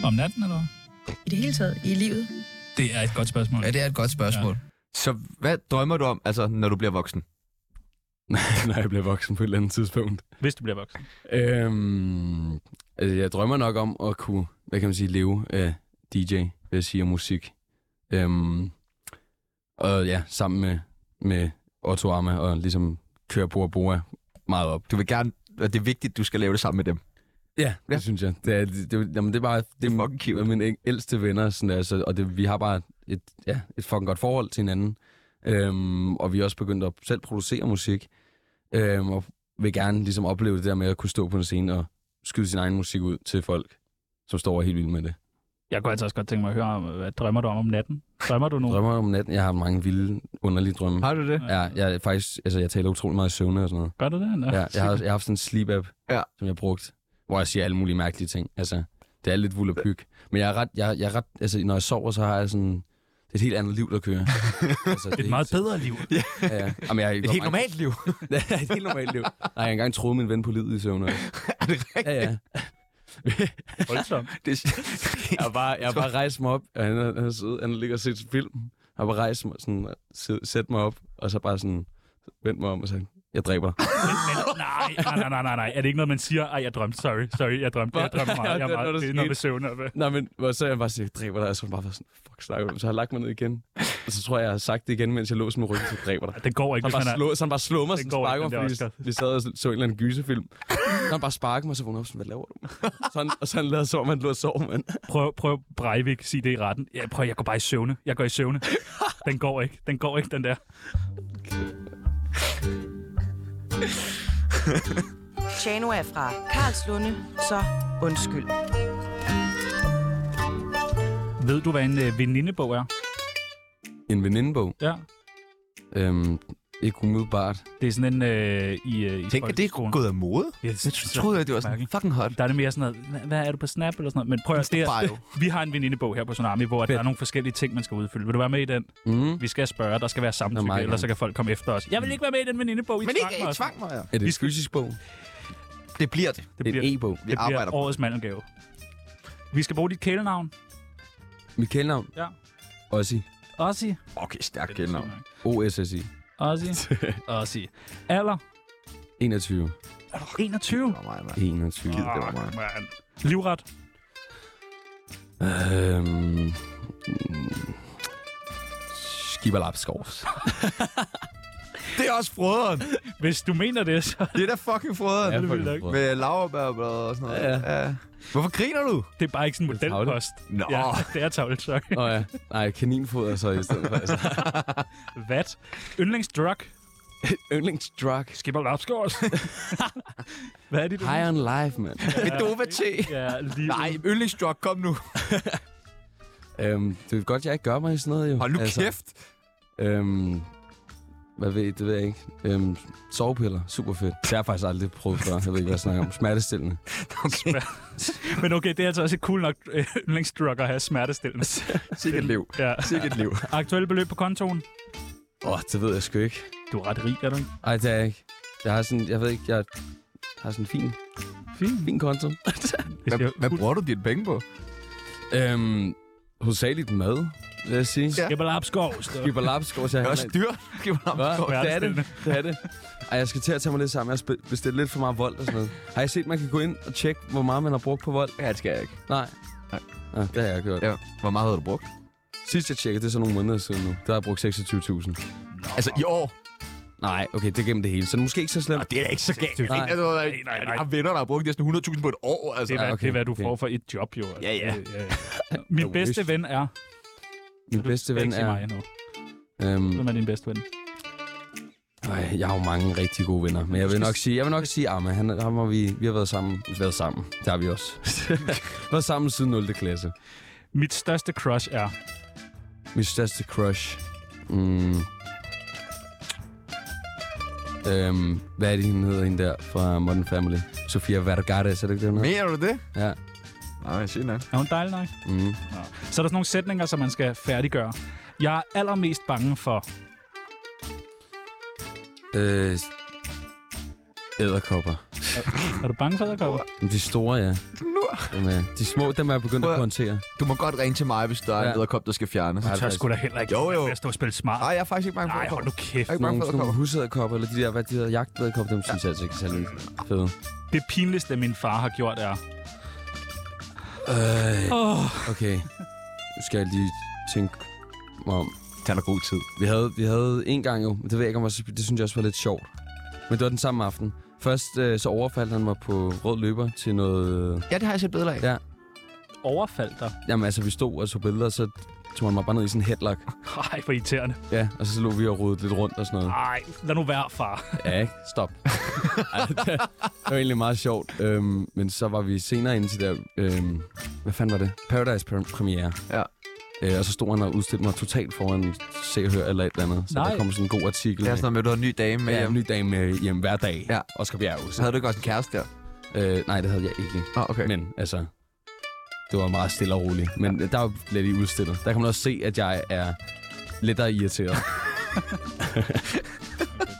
G: Om natten, eller hvad?
H: I det hele taget? I livet?
G: Det er et godt spørgsmål.
F: Ja, det er et godt spørgsmål.
A: Så hvad drømmer du om, altså, når du bliver voksen?
C: Når jeg bliver voksen på et eller andet tidspunkt.
B: Hvis du bliver voksen.
C: Øhm, altså, jeg drømmer nok om at kunne, hvad kan man sige, leve af DJ, vil jeg sige, og musik. Øhm, og ja, sammen med, med Otto Arma og ligesom køre Bora Bora meget op.
A: Du vil gerne, og det er vigtigt, du skal lave det sammen med dem.
C: Ja, det
A: Ja.
C: synes jeg. Det er, det, det, jamen, det er bare det er
A: fucking cute.
C: mine æng- ældste venner, sådan der, så, og det, vi har bare et, ja, et fucking godt forhold til hinanden. Øhm, og vi er også begyndt at selv producere musik, øhm, og vil gerne ligesom opleve det der med at kunne stå på en scene og skyde sin egen musik ud til folk, som står og er helt vilde med det.
B: Jeg kunne altså også godt tænke mig at høre, om, hvad drømmer du om om natten? Drømmer du nu?
C: Drømmer om natten, jeg har mange vilde, underlige drømme.
A: Har du det?
C: Ja, jeg, er faktisk, altså, jeg taler utrolig meget i søvne og sådan noget.
B: Gør du det? Nå.
C: Ja, jeg, har, jeg har haft sådan en sleep app,
A: Ja.
C: ja. som jeg har brugt, hvor jeg siger alle mulige mærkelige ting. Altså, det er lidt vuld og pyg. Men jeg er ret, jeg, jeg er ret, altså, når jeg sover, så har jeg sådan, det er et helt andet liv, der kører. altså, det er
B: Et meget bedre liv.
C: Ja, ja. Jamen, jeg,
A: Et helt normalt liv.
C: ja, et helt normalt liv. Nej, jeg har engang troet min ven på livet i søvn. Er det rigtigt? Ja, ja.
B: Voldsomt.
A: Det,
C: Jeg har bare, jeg har bare rejst mig op, og han, er- han, er sød, han ligger og set film. Jeg har bare rejst mig, sådan, sæt- sæt mig op, og så bare sådan, vendt mig om og sagde, jeg dræber dig.
B: Men, nej, nej, nej, nej, nej, nej. Er det ikke noget, man siger, ej, jeg drømte, sorry, sorry, jeg drømte, jeg drømte meget, jeg er
C: Det er noget,
B: meget,
C: der
B: det er noget
C: skete.
B: med søvn. og hvad-
C: Nej, men hvor så jeg bare siger, dræber dig, og så har jeg bare været sådan, fuck, snakker du om?" Så har jeg lagt mig ned igen. Og så tror jeg, jeg har sagt det igen, mens jeg lå sådan med ryggen, så dræber dig.
B: Det går ikke,
C: Så
B: hvis
C: han
B: man
C: bare,
B: er...
C: slå, så han bare slog mig,
B: Den
C: sådan
B: går
C: sparker
B: ikke,
C: mig,
B: den der
C: fordi
B: Oscar.
C: vi sad og så en eller anden gyserfilm. Så han bare sparkede mig, så vågnede jeg op sådan, hvad laver du? Så han, og så han lavede så, man lå og sov, mand.
B: Prøv, prøv Breivik, sig det i retten. Ja, prøv, jeg går bare i søvne. Jeg går i søvne. Den går ikke, den går ikke, den der.
D: Tjano er fra Karlslunde, så undskyld.
B: Ved du, hvad en øh, venindebog er?
C: En venindebog,
B: Ja.
C: øhm, ikke umiddelbart.
B: Det er sådan en øh, i, øh, i
A: tænk, at det er
B: folkeskolen.
A: gået af mode.
B: Ja,
A: Jeg troede, at det var sådan
B: mærkeligt.
A: fucking hot.
B: Der er det mere sådan noget, "Hva- hvad er du på Snap eller sådan noget? Men prøv at det
A: Bio.
B: er, vi har en venindebog her på Tsunami, hvor der er nogle forskellige ting, man skal udfylde. Vil du være med i den?
C: Mm.
B: Vi skal spørge, der skal være samtykke,
C: meget
B: ellers så
C: gerne.
B: kan folk komme efter os. Jeg vil ikke være med i den venindebog, I
A: Mm. Men
B: tvang
A: ikke,
B: mig.
A: I tvang mig. ja.
C: Er det
B: Vi
C: en
B: skal-
C: fysisk bog?
A: Det bliver det.
B: Det
C: Det
B: bliver,
C: en e-bog.
A: Vi
B: det
A: arbejder
B: bliver
A: på
B: årets mandengave. Vi skal bruge dit kælenavn.
C: Mit kælenavn?
B: Ja.
C: Ossi.
B: Ossi.
A: Okay, stærkt kældnavn.
C: OSSI.
B: Ossi. Ossi. Alder?
C: 21.
B: 21.
C: 21.
A: det var mig.
B: Fuck, mand. Livret?
C: Øhm... mm. Skibalapskovs.
A: Det er også frøderen.
B: Hvis du mener det, så
A: Det er da fucking frøderen.
C: Ja, fucking
B: nok.
C: brød.
A: Med laverbærblad og sådan noget. Ja, ja. Hvorfor griner du?
B: det er bare ikke sådan en
C: Det er tavligt.
B: modelpost.
A: Nå.
B: Ja, det er tavlet, sorry.
C: Nå ja, nej, kaninfoder så i stedet for. Altså.
B: Hvad? Yndlingsdrug?
C: Yndlingsdrug.
B: Skipper Lapsgaard. Hvad er dit?
C: High on life, mand.
A: Bedova te.
B: Ja, lige
A: Nej, yndlingsdrug, kom nu.
C: øhm, det er godt, jeg ikke gør mig i sådan noget, jo. Altså,
A: Hold nu kæft.
C: Øhm, hvad ved jeg, det ved jeg ikke. Øhm, sovepiller, super fedt. Det har jeg faktisk aldrig prøvet før. Jeg ved ikke, hvad jeg snakker om. Smertestillende.
A: Okay,
B: Men okay, det er altså også et cool nok øh, yndlingsdrug at have smertestillende.
A: sikkert liv.
B: Ja.
A: Sikkert liv.
B: Aktuelle beløb på kontoen?
C: Åh, oh, det ved jeg sgu ikke.
B: Du er ret rig, er du ikke?
C: Ej, det er jeg ikke. Jeg har sådan, jeg ved ikke, jeg Har sådan en fin,
B: Fint.
C: fin konto.
B: Det ser,
A: Hvad bruger du dine penge på?
C: øhm, hovedsageligt mad, vil jeg sige. Ja.
B: jeg bare opskovst.
C: Skipper Lapskov, så jeg
A: Det er også dyrt. Det var
C: Hva? Det er det.
B: Verdensstændende.
C: Det er det. Ej, jeg skal til at tage mig lidt sammen. Jeg har sp- bestilt lidt for meget vold og sådan noget. Har I set, man kan gå ind og tjekke, hvor meget man har brugt på vold?
A: Ja, det skal jeg ikke.
C: Nej.
A: Nej.
C: Ja, det har jeg ikke gjort. Ja.
A: Ja. Hvor meget havde du brugt?
C: Sidst jeg tjekkede, det er så nogle måneder siden nu. Der har jeg brugt 26.000.
A: Altså i år.
C: Nej, okay, det er gennem det hele. Så det er måske ikke så slemt.
A: Og det er da ikke så galt.
C: Nej.
A: Altså, nej,
B: nej,
A: nej,
B: nej.
A: Jeg har venner, der har brugt næsten 100.000 på et år. Altså.
B: Det er, hvad,
C: Ja,
B: okay,
C: okay,
B: det er, hvad du
C: okay.
B: får for et job, jo.
A: Ja, ja.
B: Det, ja, ja. Min
C: Jeg
B: bedste
C: vidste.
B: ven er...
C: Min bedste ven
B: er... Mig
C: er...
B: endnu.
C: Øhm,
B: Hvem er din bedste ven?
C: øh, jeg har jo mange rigtig gode venner, men jeg vil nok sige, jeg vil nok sige Arma. Han, ham har vi, vi har været sammen. Været sammen. Det har vi også. været sammen siden 0. klasse.
B: Mit største crush er...
C: Mit største crush. Mm. Øhm, hvad er det, hende hedder, hende der fra Modern Family? Sofia Vergara, er det ikke det, hun hedder?
A: Mener du det?
C: Ja.
A: Nej, shit, nej.
B: Er hun dejlig nok?
C: Mm.
B: Så er der sådan nogle sætninger, som man skal færdiggøre. Jeg er allermest bange for...
C: Øh, æderkopper.
B: Er du bange for æderkopper?
C: Men De store, ja. Dem er, de små, dem er jeg begyndt
A: Prøv
C: at
A: at-
C: håndtere.
A: Du må godt ringe til mig, hvis der er
C: Ja.
A: en æderkop, der skal fjernes.
B: Du tør sgu da heller ikke.
A: Jo, jo.
B: Jeg stå og spille smart.
A: Nej, jeg er faktisk ikke bange for
B: Nej, hold nu
A: æderkopper.
B: kæft.
A: Jeg er ikke bange
C: Nogle,
A: for
C: sådan nogle
A: æderkopper.
C: husedderkopper, eller de der, hvad de hedder, jagtæderkopper, dem synes jeg altså ikke er særlig fede.
B: Det pinligste, min far har gjort, er...
C: Øh,
B: Åh,
C: okay. Nu skal jeg lige tænke mig om.
A: Tag dig god tid.
C: Vi havde, vi havde en gang jo, men det ved jeg ikke om, jeg synes- det synes jeg også var lidt sjovt. Men det var den samme aften. Først øh, så overfaldt han mig på rød løber til noget...
A: Ja, det har jeg set billeder af.
C: Ja,
B: overfaldt dig.
C: jamen altså vi stod og så billeder, og så tog han mig bare ned i sådan en headlock.
B: Ej, for irriterende.
C: Ja, og så lå vi og rodede lidt rundt og sådan noget.
B: Ej, lad nu være, far.
C: Ja, ikke? Stop. Ej, det, det var egentlig meget sjovt. Øhm, men så var vi senere inde til der... Øhm, hvad fanden var det? Paradise pre- premiere.
A: Ja.
C: Øh, og så stod han og udstillede mig totalt foran Se og Hør eller et eller andet. Så
B: Nej.
C: der kom sådan en god artikel.
A: Det er sådan noget med, at du har en ny dame med
C: med, ja, en
A: hjem.
C: ny dag med hjem hver dag.
A: Ja.
C: Oscar Bjerg.
A: Så havde du ikke også en kæreste der?
C: Øh, nej, det havde jeg ikke.
A: Ah, okay. Men.
C: Men altså, det var meget stille og roligt. Men ja. der blev de udstillet. Der kan man også se, at jeg er lettere irriteret.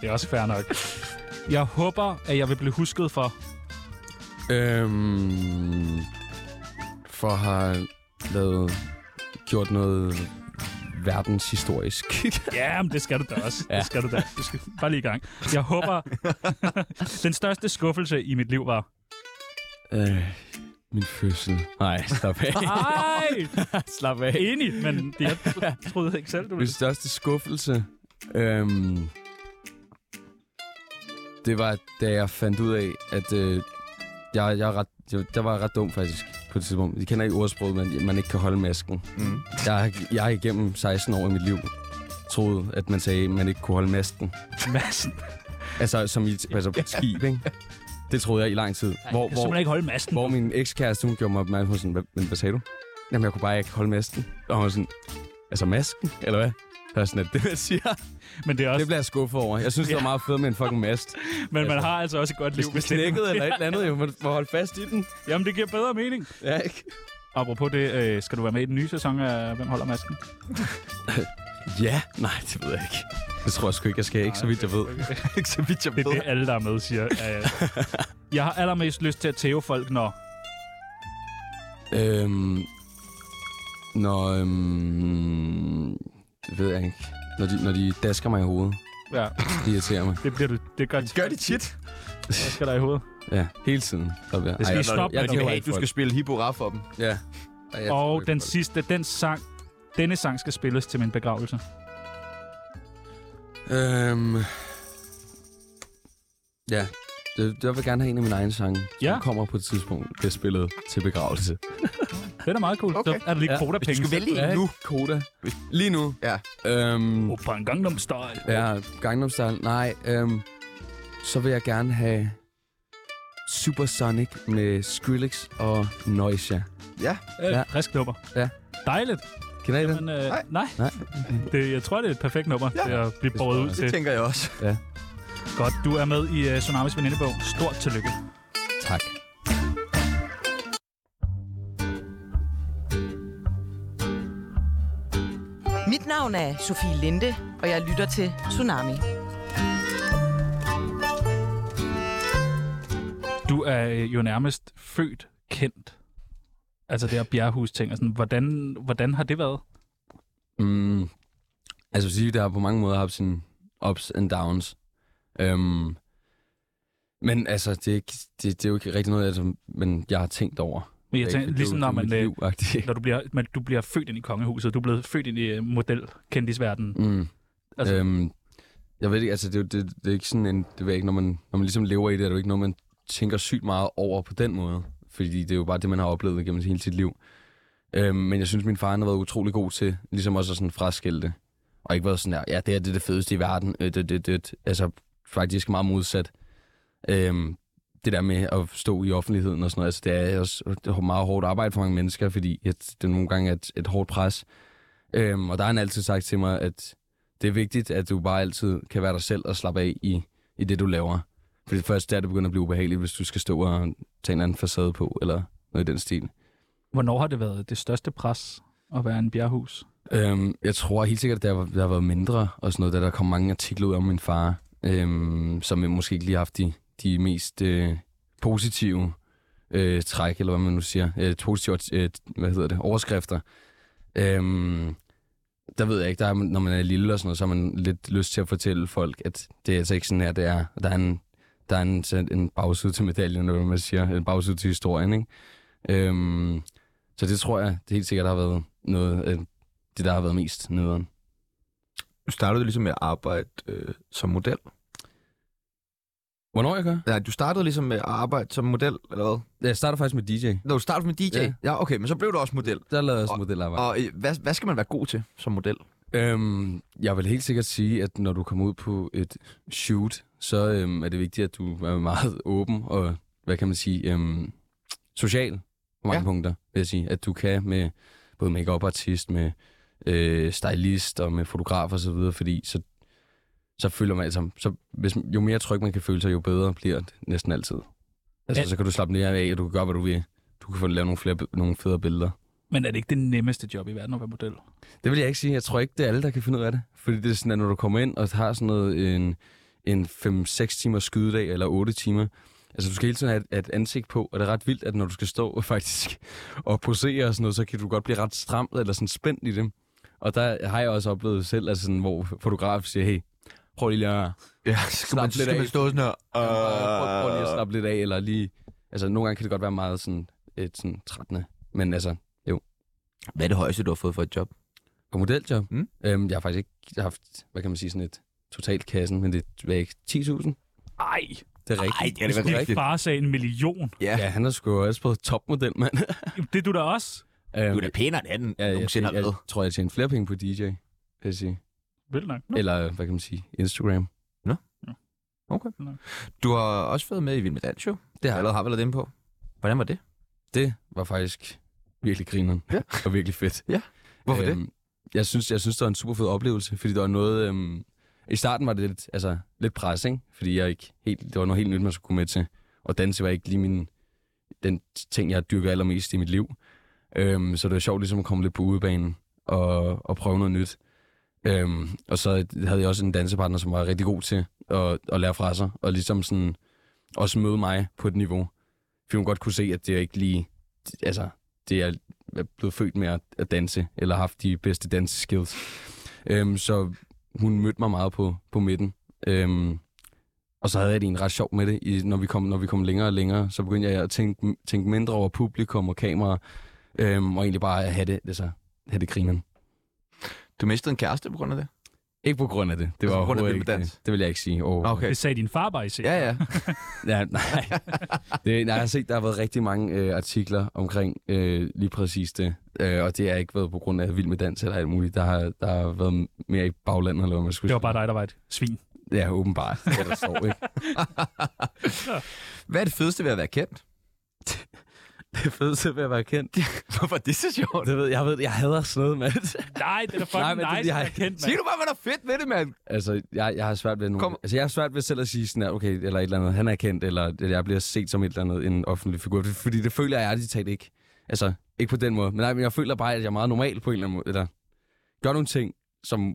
B: Det er også fair nok. Jeg håber, at jeg vil blive husket for...
C: øhm, for at have lavet, gjort noget verdenshistorisk.
B: Ja, men det skal du da også. Ja.
C: Ja.
B: Det skal du da. Du skal bare lige i gang. Jeg håber... Den største skuffelse i mit liv var...
C: øh, min fødsel. Nej, stop af.
B: Ej!
C: slap af.
B: Enig, men det, jeg troede ikke selv, du
C: Min
B: ville.
C: største skuffelse... Øhm, det var, da jeg fandt ud af, at øh, jeg, jeg, er ret, jeg, der var jeg ret dum faktisk på et tidspunkt. Jeg kender ikke ordsproget, men man ikke kan holde masken.
A: Mm.
C: Jeg, har- jeg har igennem 16 år i mit liv troet, at man sagde, at man ikke kunne holde masken.
B: Massen.
C: Altså, som i, altså på et skib, ikke? Det troede jeg i lang tid. Hvor,
B: Jeg kan
C: hvor,
B: simpelthen ikke holde massen.
C: hvor min ekskæreste, hun gjorde mig opmærksom på sådan, "Hvad- men hvad sagde du? Jamen, jeg kunne bare ikke holde masken. Og hun var sådan, altså masken, eller hvad? Så er jeg sådan, at det, jeg siger,
B: Men, det er
C: det
B: også,
C: bliver jeg skuffet over. Jeg synes, det var meget fedt med en fucking mast.
B: men man har altså også et godt liv,
C: Hvis den knækkede eller et eller andet, jo, man får holde fast i den.
B: Jamen, det giver bedre mening.
C: Ja, ikke?
B: Apropos det, øh, skal du være med i den nye sæson af Hvem holder masken?
C: Ja, nej, det ved jeg ikke. Det tror jeg sgu ikke, jeg skal. Ikke så vidt, jeg ved.
A: ikke så vidt, jeg
B: Det er det,
A: ved.
B: alle, der er med, siger. Øh, jeg har allermest lyst til at tæve folk, når...
C: Øhm, når, øhm, det ved jeg ikke. Når de, når de dasker mig i hovedet,
B: Ja,
C: de irriterer mig.
B: det bliver du... Det gør,
A: Gør det tit.
B: Hvad skal der i hovedet?
C: Ja, hele tiden. Stop, ja.
B: Det skal
C: Ej,
B: vi stoppe
C: jeg
B: med.
C: giver jo
A: Hey,
C: alt
A: du
C: for
A: skal
C: det.
A: spille hippora for dem.
C: Ja. Ej, jeg tror
B: Og
C: ikke
B: den
C: på det.
B: sidste, den sang... Denne sang skal spilles til min begravelse.
C: Øhm, ja, det, jeg vil gerne have en af mine egne sange,
B: Ja.
C: som kommer på et tidspunkt, bliver spillet til begravelse.
B: Den er meget cool.
A: Okay.
B: Så er der lige
C: Ja.
B: kvotapenge.
A: Hvis du skal vælge
C: Ja, nu, Koda. Lige nu?
A: Ja.
C: Øhm,
B: Opa, en Gangnam Style.
C: ja, Gangnam Style. Nej, øhm, så vil jeg gerne have Supersonic med Skrillex og Noisia.
B: Øh,
C: Ja.
B: Frisk nummer.
C: Ja.
B: Dejligt.
C: Kender I den?
B: Men, øh, nej.
A: Nej.
C: Nej.
B: Det, jeg tror, det er et perfekt nummer ja. til at blive båret ud til.
A: Det tænker jeg også.
B: Godt, du er med i uh, Tsunamis venindebog. Stort tillykke.
C: Tak.
D: Mit navn er Sofie Linde, og jeg lytter til Tsunami.
B: Du er øh, jo nærmest født kendt. Altså det her bjerghus-ting. Og sådan, hvordan, hvordan har det været?
C: Mm, altså jeg vil sige, det har på mange måder haft sine ups and downs. Øhm, men altså, det er, ikke, det, det er jo ikke rigtig noget, altså, men jeg har tænkt over.
B: Men jeg
C: Det er
B: tænker,
C: ikke-
B: ligesom
C: det er
B: når
C: jo-
B: man,
C: det er
B: øh,
C: jo mit liv
B: når du bliver, man, du bliver født ind i kongehuset, du er blevet født ind i øh, modelkendisverdenen.
C: mm.
B: Altså-
C: altså, øhm, jeg ved ikke, altså, det, er jo- det, det er ikke sådan en... Det ved jeg ikke, når man, når man ligesom lever i det, er det jo ikke noget, man tænker sygt meget over på den måde. Fordi det er jo bare det, man har oplevet gennem hele sit liv. Øhm, men jeg synes, min far han har været utrolig god til ligesom også at sådan fraskille det. Og ikke været sådan der, ja, det her det er det fedeste i verden. Øh, det, det, det. Altså faktisk meget modsat. Øhm, det der med at stå i offentligheden og sådan noget, altså det er også det er meget hårdt arbejde for mange mennesker, fordi at det nogle gange er et, et hårdt pres. Øhm, og der har han altid sagt til mig, at det er vigtigt, at du bare altid kan være dig selv og slappe af i, i det, du laver. Fordi først der, det begynder at blive ubehageligt, hvis du skal stå og tage en eller anden facade på, eller noget i den stil.
B: Hvornår har det været det største pres at være en bjerghus?
C: Øhm, jeg tror helt sikkert, at der, der har været mindre og sådan noget, da der kom mange artikler ud om min far, øhm, som jeg måske ikke lige har haft de, de mest øh, positive øh, træk, eller hvad man nu siger, øh, positive, øh, hvad hedder det, overskrifter. Øhm, der ved jeg ikke, der er, når man er lille og sådan noget, så har man lidt lyst til at fortælle folk, at det er altså ikke sådan her, det er. Der er en, der er en, sådan en bagside til medaljen, eller hvad man siger, en bagside til historien, ikke? Øhm, så det tror jeg, det helt sikkert har været noget, øh, det, der har været mest nederen.
A: Du startede ligesom med at arbejde øh, som model.
C: Hvornår jeg gør?
A: Nej, du startede ligesom med at arbejde som model, eller hvad?
C: Jeg starter faktisk med DJ.
A: Når du startede med DJ?
C: Ja.
A: ja okay, men så blev du også model.
C: Der lavede jeg også
A: Og-
C: modelarbejde.
A: Og øh, hvad, hvad skal man være god til som model?
C: Øhm, jeg vil helt sikkert sige, at når du kommer ud på et shoot, så øhm, er det vigtigt, at du er meget åben og, hvad kan man sige, øhm, social på mange
A: Ja.
C: ja. punkter, vil jeg sige. At du kan med både make artist med øh, stylist og med fotograf og så videre, fordi så, så føler man, altså, så hvis, jo mere tryg man kan føle sig, jo bedre bliver det næsten altid. Altså,
B: Ja.
C: så kan du slappe mere af, og du kan gøre, hvad du vil. Du kan få lavet nogle, flere, nogle federe billeder.
B: Men er det ikke det nemmeste job i verden at være model?
C: Det vil jeg ikke sige. Jeg tror ikke, det er alle, der kan finde ud af det. Fordi det er sådan, at når du kommer ind og har sådan noget, en, en 5-6 timers skydedag, eller 8 timer, altså du skal hele tiden have et, et ansigt på, og det er ret vildt, at når du skal stå og faktisk og posere og sådan noget, så kan du godt blive ret stramt eller sådan spændt i det. Og der har jeg også oplevet selv, altså sådan, hvor fotograf siger, hey, prøv lige at,
A: Ja, skal
C: Slap
A: man,
C: lidt
A: skal man
C: af.
A: stå sådan her?
C: øh, prøv, prøv lige at
A: Øh,
C: slappe lidt af, eller lige... Altså nogle gange kan det godt være meget sådan, et sådan trættende, men altså,
A: Hvad er det højeste, du har fået for et job?
C: På modeljob?
A: Mm.
C: Øhm, jeg har faktisk ikke haft, hvad kan man sige, sådan et totalt kassen, men det er ikke 10.000.
B: Ej,
C: Det er rigtigt.
A: Ja, det var
B: min far sagde en million.
A: Ja.
C: Ja, han har sgu også på topmodel, mand.
B: Jamen, Det er du da også.
C: Øhm,
A: Du er da pænere end anden, ja,
C: jeg, jeg,
A: nogensinde har
C: jeg, jeg
A: været.
C: tror, jeg tjener flere penge på DJ, vil jeg sige.
B: Vel nok.
C: Eller, hvad kan man sige, Instagram.
A: Du har også været med i Vild med Dans, jo. Det har jeg allerede har været lidt inde på. Hvordan var det?
C: Det var faktisk virkelig grineren.
A: Ja.
C: og virkelig fedt.
A: Hvorfor det?
C: Øhm, Jeg synes, jeg synes, det var en super fed oplevelse, fordi der var noget... Øhm, I starten var det lidt, altså, lidt pres, ikke? Fordi jeg ikke helt, det var noget helt nyt, man skulle gå med til. Og danse var ikke lige min, den ting, jeg dyrker allermest i mit liv. Øhm, så det var sjovt ligesom at komme lidt på udebanen og, og prøve noget nyt. Øhm, og så havde jeg også en dansepartner, som var rigtig god til at, at lære fra sig, og ligesom sådan også møde mig på et niveau. Fordi hun godt kunne se, at det er ikke lige... Altså, det er er blevet født med at, at danse, eller har haft de bedste danseskills. Øhm, så hun mødte mig meget på, på midten. Øhm, og så havde jeg det egentlig ret sjovt med det. I, når, vi kom, når vi kom længere og længere, så begyndte jeg at tænke, tænke mindre over publikum og kamera, øhm, og egentlig bare at have det, altså, have det grineren.
A: Du mistede en kæreste på grund af det?
C: Ikke på grund af det. Det
A: Altså
C: var
A: på grund af
C: overhovedet
A: Vild med
C: ikke,
A: Dans?
C: det vil jeg ikke sige. Oh,
A: Okay.
B: Det sagde din far bare i sig.
A: Ja, ja.
C: Ja, nej. Det, nej. Jeg har set, der har været rigtig mange øh, artikler omkring øh, lige præcis det. Øh, og det har ikke været på grund af Vild med Dans eller alt muligt. Der har, der har været mere i baglandet, eller hvad man skulle
B: Det var bare dig, der var et svin.
C: sige. Ja, åbenbart. Ja, der står, ikke?
A: Hvad er det fedeste ved at være kendt?
C: det fedeste ved at være kendt.
A: Hvorfor er det så sjovt?
C: Det ved jeg, ved, jeg hader sådan noget, mand.
B: Nej, det er da
C: Nej, men
B: fucking
C: det er,
B: nice,
C: fordi jeg-
B: det, jeg... kendt,
A: Sig
B: mand.
A: nu bare, hvad der er fedt ved det, mand.
C: Altså, jeg, jeg har svært ved nogen.
A: Kom.
C: Altså, jeg har svært ved selv at sige sådan her, okay, eller et eller andet, han er kendt, eller jeg bliver set som et eller andet, en offentlig figur. Fordi det føler jeg ærligt talt ikke. Altså, ikke på den måde. Men nej, men jeg føler bare, at jeg er meget normal på en eller anden måde. Eller gør nogle ting, som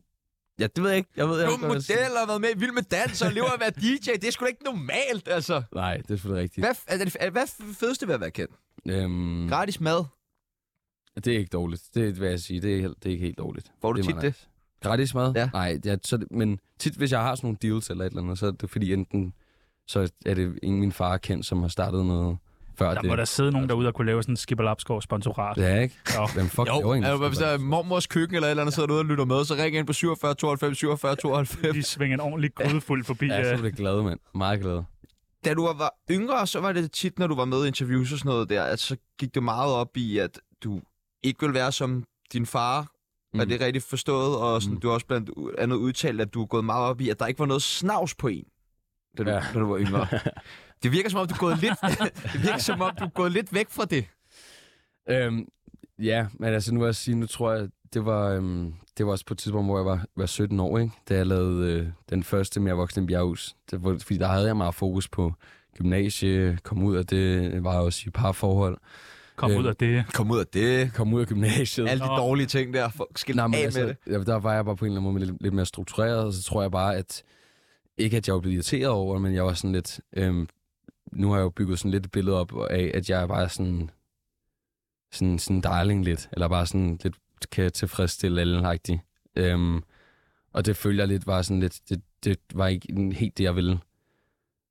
C: Ja, det ved jeg ikke. Jeg ved, jeg
A: Du er model og har været med i Vild Med Dans og lever af at være DJ. Det er sgu da ikke normalt, altså.
C: Nej, det er selvfølgelig rigtigt.
A: Hvad, f- er det, er, hvad er det fedeste ved at være kendt?
C: Øhm,
A: Gratis mad.
C: det er ikke dårligt. Det vil jeg sige. Det er, helt- det er ikke helt dårligt.
A: Får du
C: det er
A: tit
C: meget
A: det?
C: Gratis mad?
A: Ja.
C: Nej, ja, så, er det- men tit, hvis jeg har sådan nogle deals eller et eller andet, så er det fordi enten, så er det en min far er kendt, som har startet noget før
B: Der
C: det.
B: må der sidde nogen derude og kunne lave sådan en Skipper Lapsgaard sponsorat.
C: Det er ikke.
B: Jo.
C: Hvem fuck
A: Jo,
C: laver egentlig
A: altså, hvis der er
C: sådan noget?
A: mormors køkken eller et eller andet, sidder derude og lytter med, så ring ind på 47 92 47 92.
B: De svinger en ordentlig grydefuld forbi. øh,
C: Ja, så
B: Ja,
C: er det glad, mand. Meget glad.
A: Da du var yngre, så var det tit, når du var med i interviews og sådan noget der, at så gik det meget op i, at du ikke ville være som din far. Mm. Er
C: Mm.
A: det rigtigt forstået? Og sådan,
C: Mm.
A: mm. du har også blandt u- andet udtalt, at du er gået meget op i, at der ikke var noget snavs på en, da du,
C: Ja.
A: ja. da du var yngre. det virker som om, du er gået lidt, det virker, som om, du er gået lidt væk fra det.
C: Øhm, ja, men altså nu vil jeg sige, nu tror jeg, det var, øhm, det var også på et tidspunkt, hvor jeg var, var 17 år, ikke? da jeg lavede øh, den første mere voksne bjerghus. Det var, fordi der havde jeg meget fokus på gymnasie, kom ud af det, var også i parforhold.
B: Kom ud af det.
A: Kom ud af det.
C: Kom ud af gymnasiet.
A: Alle de dårlige ting der. for- Skil af
C: Nej, men
A: med
C: altså,
A: det.
C: ja, der var jeg bare på en eller anden måde lidt, lidt mere struktureret, og så tror jeg bare, at ikke at jeg var blevet irriteret over det, men jeg var sådan lidt... Øhm, nu har jeg jo bygget sådan lidt et billede op af, at jeg er bare sådan, sådan, sådan darling lidt, eller bare sådan lidt kan tilfredsstille alle rigtig. Øhm, og det følger jeg lidt var sådan lidt, det, det var ikke en- helt det, jeg ville.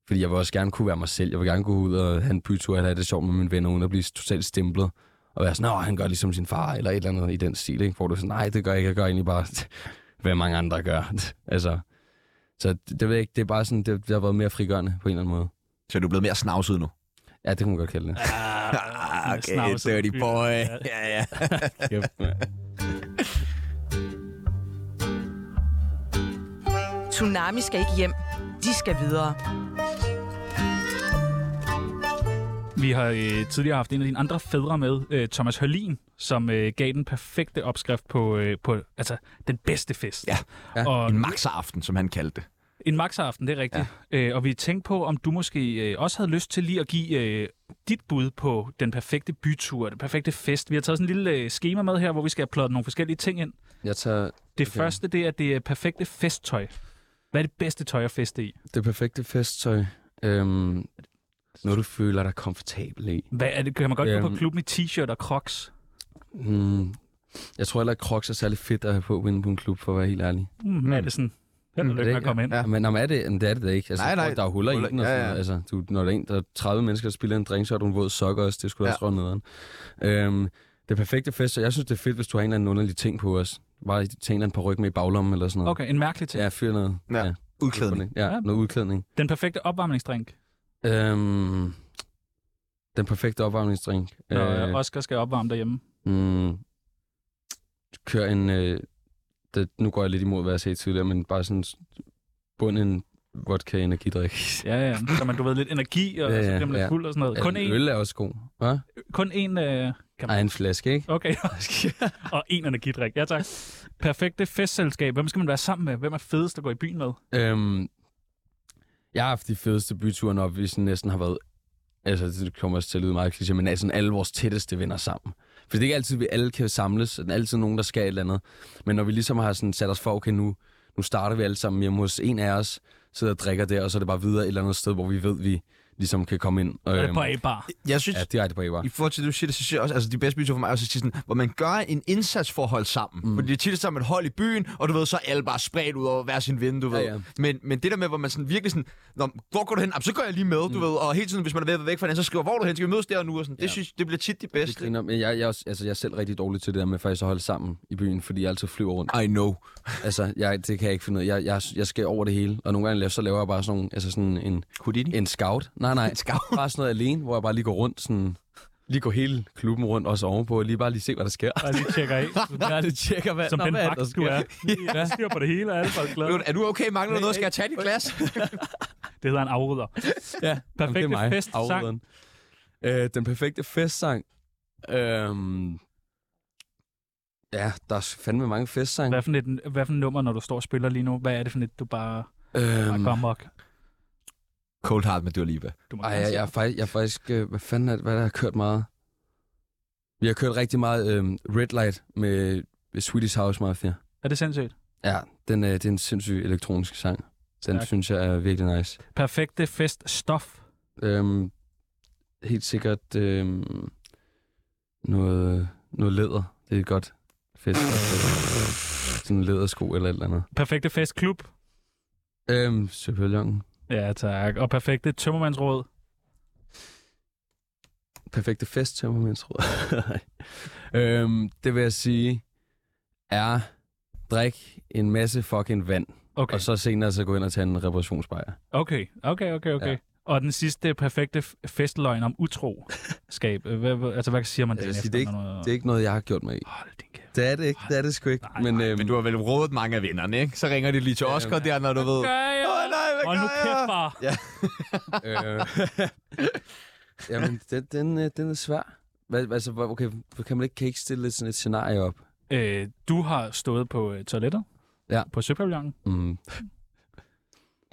C: Fordi jeg vil også gerne kunne være mig selv. Jeg vil gerne gå ud og have en bytur, eller have det sjovt med mine venner, uden at blive totalt stemplet og være sådan, at han gør ligesom sin far, eller et eller andet i den stil, ikke? hvor du er sådan, nej, det gør jeg ikke, jeg gør egentlig bare, hvad mange andre gør. altså, så det, det ved jeg ikke, det er bare sådan, det, det har været mere frigørende på en eller anden måde.
A: Så er du blevet mere snavset nu.
C: Ja, det kan man godt kalde det.
B: Ah,
A: Okay, dirty boy. Ja, ja.
D: Tsunami skal ikke hjem. De skal videre.
B: Vi har øh, tidligere haft en af dine andre fædre med, øh, Thomas Hørlin, som øh, gav den perfekte opskrift på, øh, på altså, den bedste fest.
A: Ja,
C: ja.
B: Og
A: En maxaften, som han kaldte det.
B: en maksaften, det er rigtigt. Ja. Øh, og vi tænkte på, om du måske øh, også havde lyst til lige at give øh, dit bud på den perfekte bytur, den perfekte fest. Vi har taget sådan en lille øh, schema med her, hvor vi skal have plottet nogle forskellige ting ind.
C: Jeg tager
B: Det
C: Okay.
B: okay. første, det er det perfekte festtøj. Hvad er det bedste tøj at feste i?
C: det perfekte festtøj. Øhm, noget, du føler dig komfortabel i.
B: Hvad er det? Kan man godt gå
C: Øhm.
B: på klubben i t-shirt og crocs?
C: Hmm. Jeg tror heller ikke, Crocs er særlig fedt at have på inde på en klub, for at være helt ærlig.
B: Mm, er det sådan? Held og lykke med at komme ind.
C: Ja. Men om er det, men det er det da ikke. Altså,
A: Nej,
C: jeg tror,
A: nej.
C: Der er huller i
A: Huller-
C: den. Og
A: ja,
C: sådan,
A: ja.
C: ja, ja. Altså, du, når der er en, der er 30 mennesker, der spiller en drink, så har du en våd sokker også. Det skulle ja.
A: Ja.
C: også røre nederen. Øhm, det perfekte fest, så jeg synes, det er fedt, hvis du har en eller anden underlig ting på os. Bare tage en eller anden par ryg med i baglommen eller sådan noget.
B: Okay, en mærkelig ting.
C: Ja, fyr noget.
A: Ja. Udklædning.
C: Ja,
B: Ja.
C: noget udklædning.
B: Den perfekte opvarmningsdrink,
C: Øhm, den perfekte opvarmningsdrink.
B: når øh. Oscar skal opvarme derhjemme.
C: Mm, kør en... Øh, det, nu går jeg lidt imod, hvad jeg sagde tidligere, men bare sådan s- bund en vodka-energidrik.
B: Ja, ja. Så man, du ved, lidt energi, og
C: Ja,
B: ja, ja, så
C: ja,
B: bliver man lidt
C: ja.
B: fuld og sådan noget. Kun
C: Ja,
B: en,
C: Altså, Øl er også god. Hva?
B: kun en øh, kan
C: Nej,
B: man...
C: en flaske, ikke?
B: Okay, og en energidrik. Ja, tak. Perfekte festselskab. Hvem skal man være sammen med? Hvem er fedest at gå i byen med?
C: Øhm, jeg har haft de fedeste byture, når vi sådan næsten har været... Altså, det kommer også til at lyde meget kliché, men altså alle vores tætteste venner sammen. For det er ikke altid, vi alle kan samles, og der er altid nogen, der skal et eller andet. Men når vi ligesom har sådan sat os for, okay, nu, nu starter vi alle sammen hjemme hos en af os, sidder og drikker der, og så er det bare videre et eller andet sted, hvor vi ved, vi ligesom kan komme ind. Og,
B: Er det på A-bar?
A: Jeg synes,
C: Ja, direkte på Eber.
A: I forhold til det, du siger, det, så synes jeg også, altså de bedste byture for mig er også tit sådan, hvor man gør en indsats for at holde sammen. Mm. Fordi det er tit sammen et hold i byen, og du ved, så er alle bare spredt ud over hver sin ven, du ved.
C: ja.
A: Men, men det der med, hvor man sådan virkelig sådan, Nå, hvor går du hen? Jamen, så går jeg lige med, du ved. Og hele tiden, hvis man er ved at være væk fra den, så skriver, hvor er du hen? Skal vi mødes der og nu? Og sådan. Det,
C: Ja.
A: synes, det bliver tit de
C: Det
A: bedste.
C: griner, men jeg, jeg, er også- altså, jeg er selv rigtig dårlig til det der med faktisk at holde sammen i byen, fordi jeg altid flyver rundt.
A: I know.
C: Altså, jeg, det kan jeg ikke finde ud af. Jeg, jeg, jeg skal over det hele, og nogle gange laver, så laver jeg bare sådan, nogle, altså sådan en,
A: Houdini?
C: en scout. Nej, nej.
A: En scout?
C: Bare sådan noget alene, hvor jeg bare lige går rundt sådan... Lige går hele klubben rundt, også ovenpå, og lige bare lige se, hvad der sker.
B: Bare lige tjekker af.
C: Jeg lige tjekker, hvad,
B: Som
C: nå,
B: den
C: hvad er det,
B: vagt, du er. Ja. Styr på det hele, og alle folk glade.
A: Er du okay? Mangler du noget? Skal jeg tage dit glas?
B: Det hedder en afrydder.
C: Ja,
B: Perfekte
C: Jamen, det er mig,
B: festsang.
C: aflederen. Øh, den perfekte festsang. Øhm, ja, der er fandme mange festsange.
B: Hvad for, et, hvad for et nummer, når du står og spiller lige nu? Hvad er det for et, du bare... Bare
C: Øhm,
B: kom og...
A: Cold Heart med Dua Lipa.
B: Du må
C: Ej,
B: gerne
C: jeg,
B: sige
C: jeg, er faktisk, jeg er faktisk... Øh, hvad fanden er det, hvad er der har kørt meget? Vi har kørt rigtig meget øh, Red Light med Swedish House Mafia.
B: det. Er det sindssygt?
C: Ja, Den, øh, det er en sindssyg elektronisk sang. Den
B: Stærk.
C: synes jeg er virkelig nice.
B: Perfekte feststof.
C: Øhm, helt sikkert øhm, noget, noget læder. Det er et godt fedt. Sådan en lædersko eller et eller andet.
B: Perfekte festklub.
C: Øhm, Søpøljongen.
B: Ja, tak. Og perfekte tømmermandsråd.
C: Perfekte fest, temperament, tror jeg. øhm, det vil jeg sige, er drik en masse fucking vand,
B: Okay.
C: og så senere så gå ind og tage en reparationsbejer.
B: Okay, okay, okay, okay.
C: Ja.
B: Ja. Og den sidste perfekte f- festløgn om utroskab. Hvad, hvad, altså, hvad siger man
C: Jeg
B: den
C: vil
B: efter?
C: sige, det er ikke-
B: noget...
C: Det er ikke noget, jeg har gjort mig i.
B: Hold din kæft.
C: Det er det ikke, det er det sgu ikke.
B: Nej,
C: men, øhm,
A: Men du har vel rådet mange af vennerne, ikke? Så ringer de lige til Oscar der, når du ved...
B: Gør jeg?
A: Åh, nej, hvad
B: Hold nu
A: gør jeg?
B: kæft, far.
C: øh, jamen, den, den, øh, den er svær. Hvad, altså, hvor- okay, hvor kan man ikke, kan I ikke stille sådan et scenarie op?
B: Øh, du har stået på øh, toilettet
C: Ja.
B: på Søpavillonen.
C: Mm,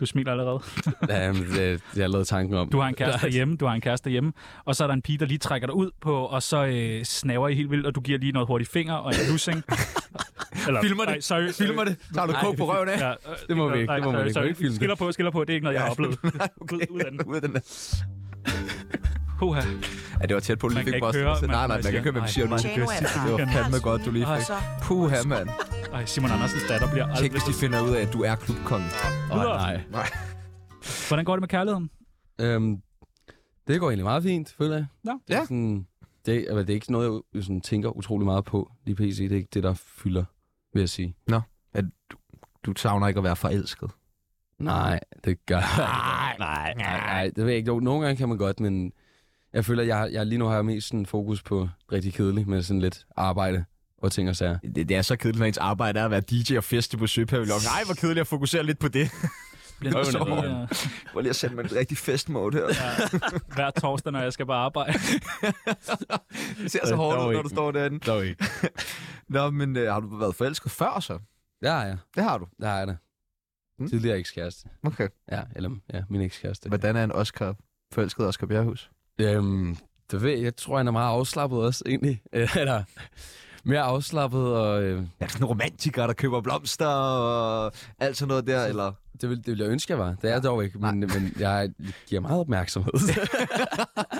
B: Du smiler allerede.
C: ja, men, det, jeg lavede tanken om.
B: Du har en kæreste derhjemme, du har en kæreste derhjemme. Og så er der en pige, der lige trækker dig ud på, og så øh, snaver I helt vildt, og du giver lige noget hurtigt finger og en lussing. Eller,
A: Filmer det.
B: Nej, sorry, sorry.
A: Filmer det. Tager du kog på røven af?
B: Ja, øh,
C: Det må vi
B: gør-
C: ikke,
B: nej,
C: det må man
B: sorry,
C: ikke. Man
B: sorry.
C: kan ikke filme det.
B: Skiller på, skiller på. Det er ikke noget, jeg har oplevet. Ud, ud af den.
A: Ud af den der.
B: Puha.
A: Ja, det var tæt på, du lige
B: Man kan
A: fik
B: ikke
A: bossen.
B: høre,
A: Nej, nej,
B: man-
A: man
B: man
A: kan ikke høre, hvad vi siger
B: siger,
A: nu.
D: Tjano er
A: Det var fandme godt, du lige
B: Ej,
A: fik.
D: Så
A: Puha, mand.
B: Ej, Simon Andersens datter bliver
A: Tænk,
B: aldrig...
A: hvis de finder ud af, at du er klubkongen.
C: Åh,
B: Videre.
C: nej.
B: Hvordan går det med kærligheden?
C: Øhm, det går egentlig meget fint, føler jeg.
B: Nå.
C: Det er,
A: Ja.
C: sådan, det, altså, det er ikke noget, jeg jo sådan, tænker utrolig meget på lige pc. Det er ikke det, der fylder, vil jeg sige.
A: Du savner ikke at være forelsket.
C: Nej, det gør
A: Ah.
C: nej, nej, nej, nej. Det ved jeg ikke. Jo, Nogle gange kan man godt, men jeg føler, jeg, jeg lige nu har jeg mest sådan fokus på rigtig kedeligt med sådan lidt arbejde og ting og sager.
A: Det, det er så kedeligt, når ens arbejde er at være DJ og feste på Søpavillonen. Nej, hvor kedeligt at fokusere lidt på det.
B: Bliver det
A: Øjne
B: sådan,
A: over.
B: øh,
A: Prøv lige at sætte mig en rigtig festmode her.
B: hver torsdag, når jeg skal bare arbejde?
A: Det ser så hårdt ud, når du står derinde.
C: Dog ikke.
A: Nå, men øh, har du været forelsket før så?
C: Ja, ja.
A: Det har du.
C: Der er det.
A: Hmm.
C: Tidligere ekskæreste.
A: Okay.
C: Ja, eller ja, min ekskæreste.
A: Hvordan er en Oscar forelsket Oscar Bjerghus?
C: Øhm, det ved jeg. Jeg tror, han er meget afslappet også, egentlig. Øh, Eller mere afslappet, og øh,
A: Er det sådan en romantiker, der køber blomster og alt sådan noget der? Eller?
C: det, vil, det ville jeg ønske, jeg var. Det er jeg dog ikke, men, men jeg giver meget opmærksomhed.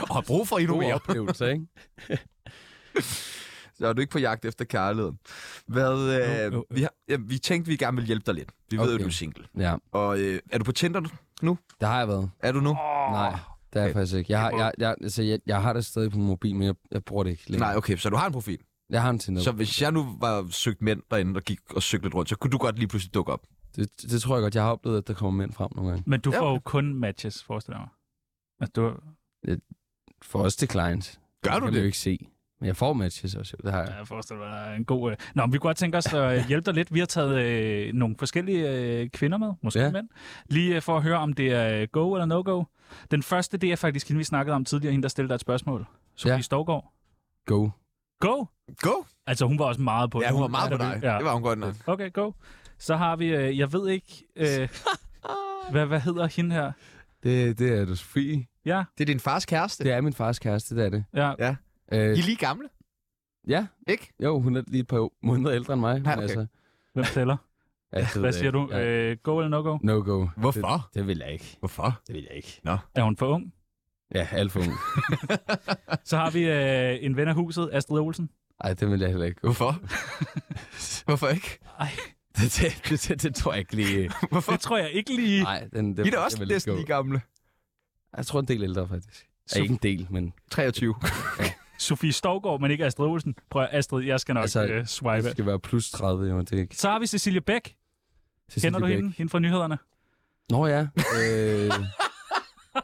A: Og har brug for endnu
C: Gode
A: mere.
C: oplevelser, ikke?
A: Så er du ikke på jagt efter kærligheden. Hvad, øh,
B: Jo, jo, jo.
A: Vi, har, ja, vi tænkte, vi gerne ville hjælpe dig lidt. Vi okay. ved,
C: Okay.
A: at du er single.
C: Ja,
A: Og øh, er du på Tinder nu?
C: det har jeg været.
A: Er du nu?
C: Nej, det er jeg faktisk ikke. Jeg, har, jeg, jeg, altså, jeg, jeg har det stadig på min mobil, men jeg, jeg bruger det ikke længere.
A: Nej, okay, så du har en profil.
C: Jeg har en Tinder.
A: Så hvis jeg nu var søgt mænd derinde og gik og søgte lidt rundt, så kunne du godt lige pludselig dukke op.
C: Det, det tror jeg godt, jeg har oplevet, at der kommer mænd frem nogle gange.
B: Men du
A: Ja,
B: får jo kun matches, forestiller jeg mig. Altså, du,
C: For os til clients.
A: Gør du
C: kan man jo
A: det?
C: ikke se. Men jeg får matches også, jo. det har jeg.
B: ja, jeg forestiller mig, der er en god... Øh... Nå, men vi kunne godt tænke os at hjælpe dig lidt. Vi har taget øh, nogle forskellige øh, kvinder med, måske
C: Ja.
B: ja. mænd, lige øh, for at høre, om det er øh, go eller no-go. Den første, det er faktisk hende, vi snakkede om tidligere, hende, der stillede dig et spørgsmål. Sofie
C: Ja.
B: ja. Storgård.
C: Go.
B: Go!
A: Go!
B: Altså, hun var også meget på
A: Ja, hun var meget på dig.
B: Ja.
A: Det var hun godt nok.
B: Øh, Okay, go. Så har vi, øh, jeg ved ikke, øh, hvad, hvad hedder hende her?
C: Det, det er du, Sofie.
B: Ja,
A: Det er din fars kæreste.
C: Det er min fars kæreste, det er det.
B: ja.
C: Øh,
A: I er lige gamle,
C: ja,
A: ikke?
C: jo, hun er lige et par måneder ældre end mig. men
A: Ja, Ah, okay.
B: Hvem tæller?
C: ja, det ved
B: Hvad
C: jeg
B: siger du?
C: ikke. Ja.
B: Øh, go eller no-go?
C: No go.
A: Hvorfor?
C: Det, det vil jeg ikke.
A: Hvorfor?
C: Det vil jeg ikke.
B: Er hun for ung?
C: Ja, alt for ung.
B: Så har vi øh, en ven af huset, Astrid Olsen.
C: Ej, det vil jeg heller ikke gå.
A: Hvorfor? Hvorfor ikke?
B: Ej,
C: Det, det, det, det, det tror jeg ikke lige.
A: Hvorfor?
B: det tror jeg ikke lige.
C: Nej, den, den,
A: I er da også
C: den vil jeg ikke
A: næsten
C: gå.
A: lige gamle.
C: Jeg tror en del ældre, faktisk.
B: Så-
C: Så... Ikke en del, men
A: 23.
B: Sofie Stovgaard, men ikke Astrid Olsen. Prøv at, Astrid, jeg skal nok
C: Altså,
B: altså, øh, swipe.
C: det skal være plus 30, jo. Det er ikke.
B: Så har vi Cecilie Bæk.
C: Cecilie
B: Kender du
C: Bæk.
B: hende? Hende fra nyhederne?
C: Nå ja. Øh...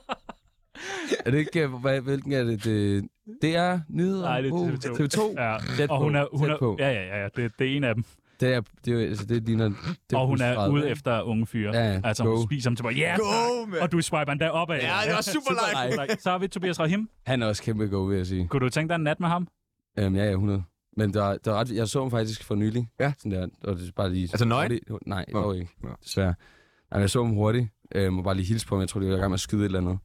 C: er det ikke, øh, hvad, hvilken er det? Det, det er nyheder.
B: Nej, det er
C: Wow,
B: TV2.
C: TV2.
B: Ja.
C: Tæt
B: Og hun
C: på,
B: er, hun
C: tæt
B: er,
C: på.
B: ja, ja, ja, ja, det, det er en af dem.
C: Det er, det er, altså, det ligner, det
B: Og hun
C: plus
B: er
C: 30,
B: ude
C: ikke?
B: efter unge fyre.
C: Ja, ja,
B: altså,
C: go.
B: hun spiser dem til mig. Ja,
A: Go,
B: tak.
A: mand.
B: Og du swiper endda opad.
A: Ja, det var super like.
B: like. Så har vi Tobias Rahim.
C: Han er også kæmpe god, vil jeg sige.
B: Kunne du tænke dig en nat med ham?
C: Øhm, ja, ja, 100. Men der, der er ret, jeg så ham faktisk for nylig.
A: Ja.
C: Sådan der, og det er bare lige...
A: Altså nøgen?
C: Hurtigt, nej,
A: Nå.
C: Nå. dog ikke.
A: Nå.
C: Desværre. Nej, jeg så ham hurtigt. Øhm, og bare lige hilse på ham. Jeg tror, det var i gang med at skyde et eller andet.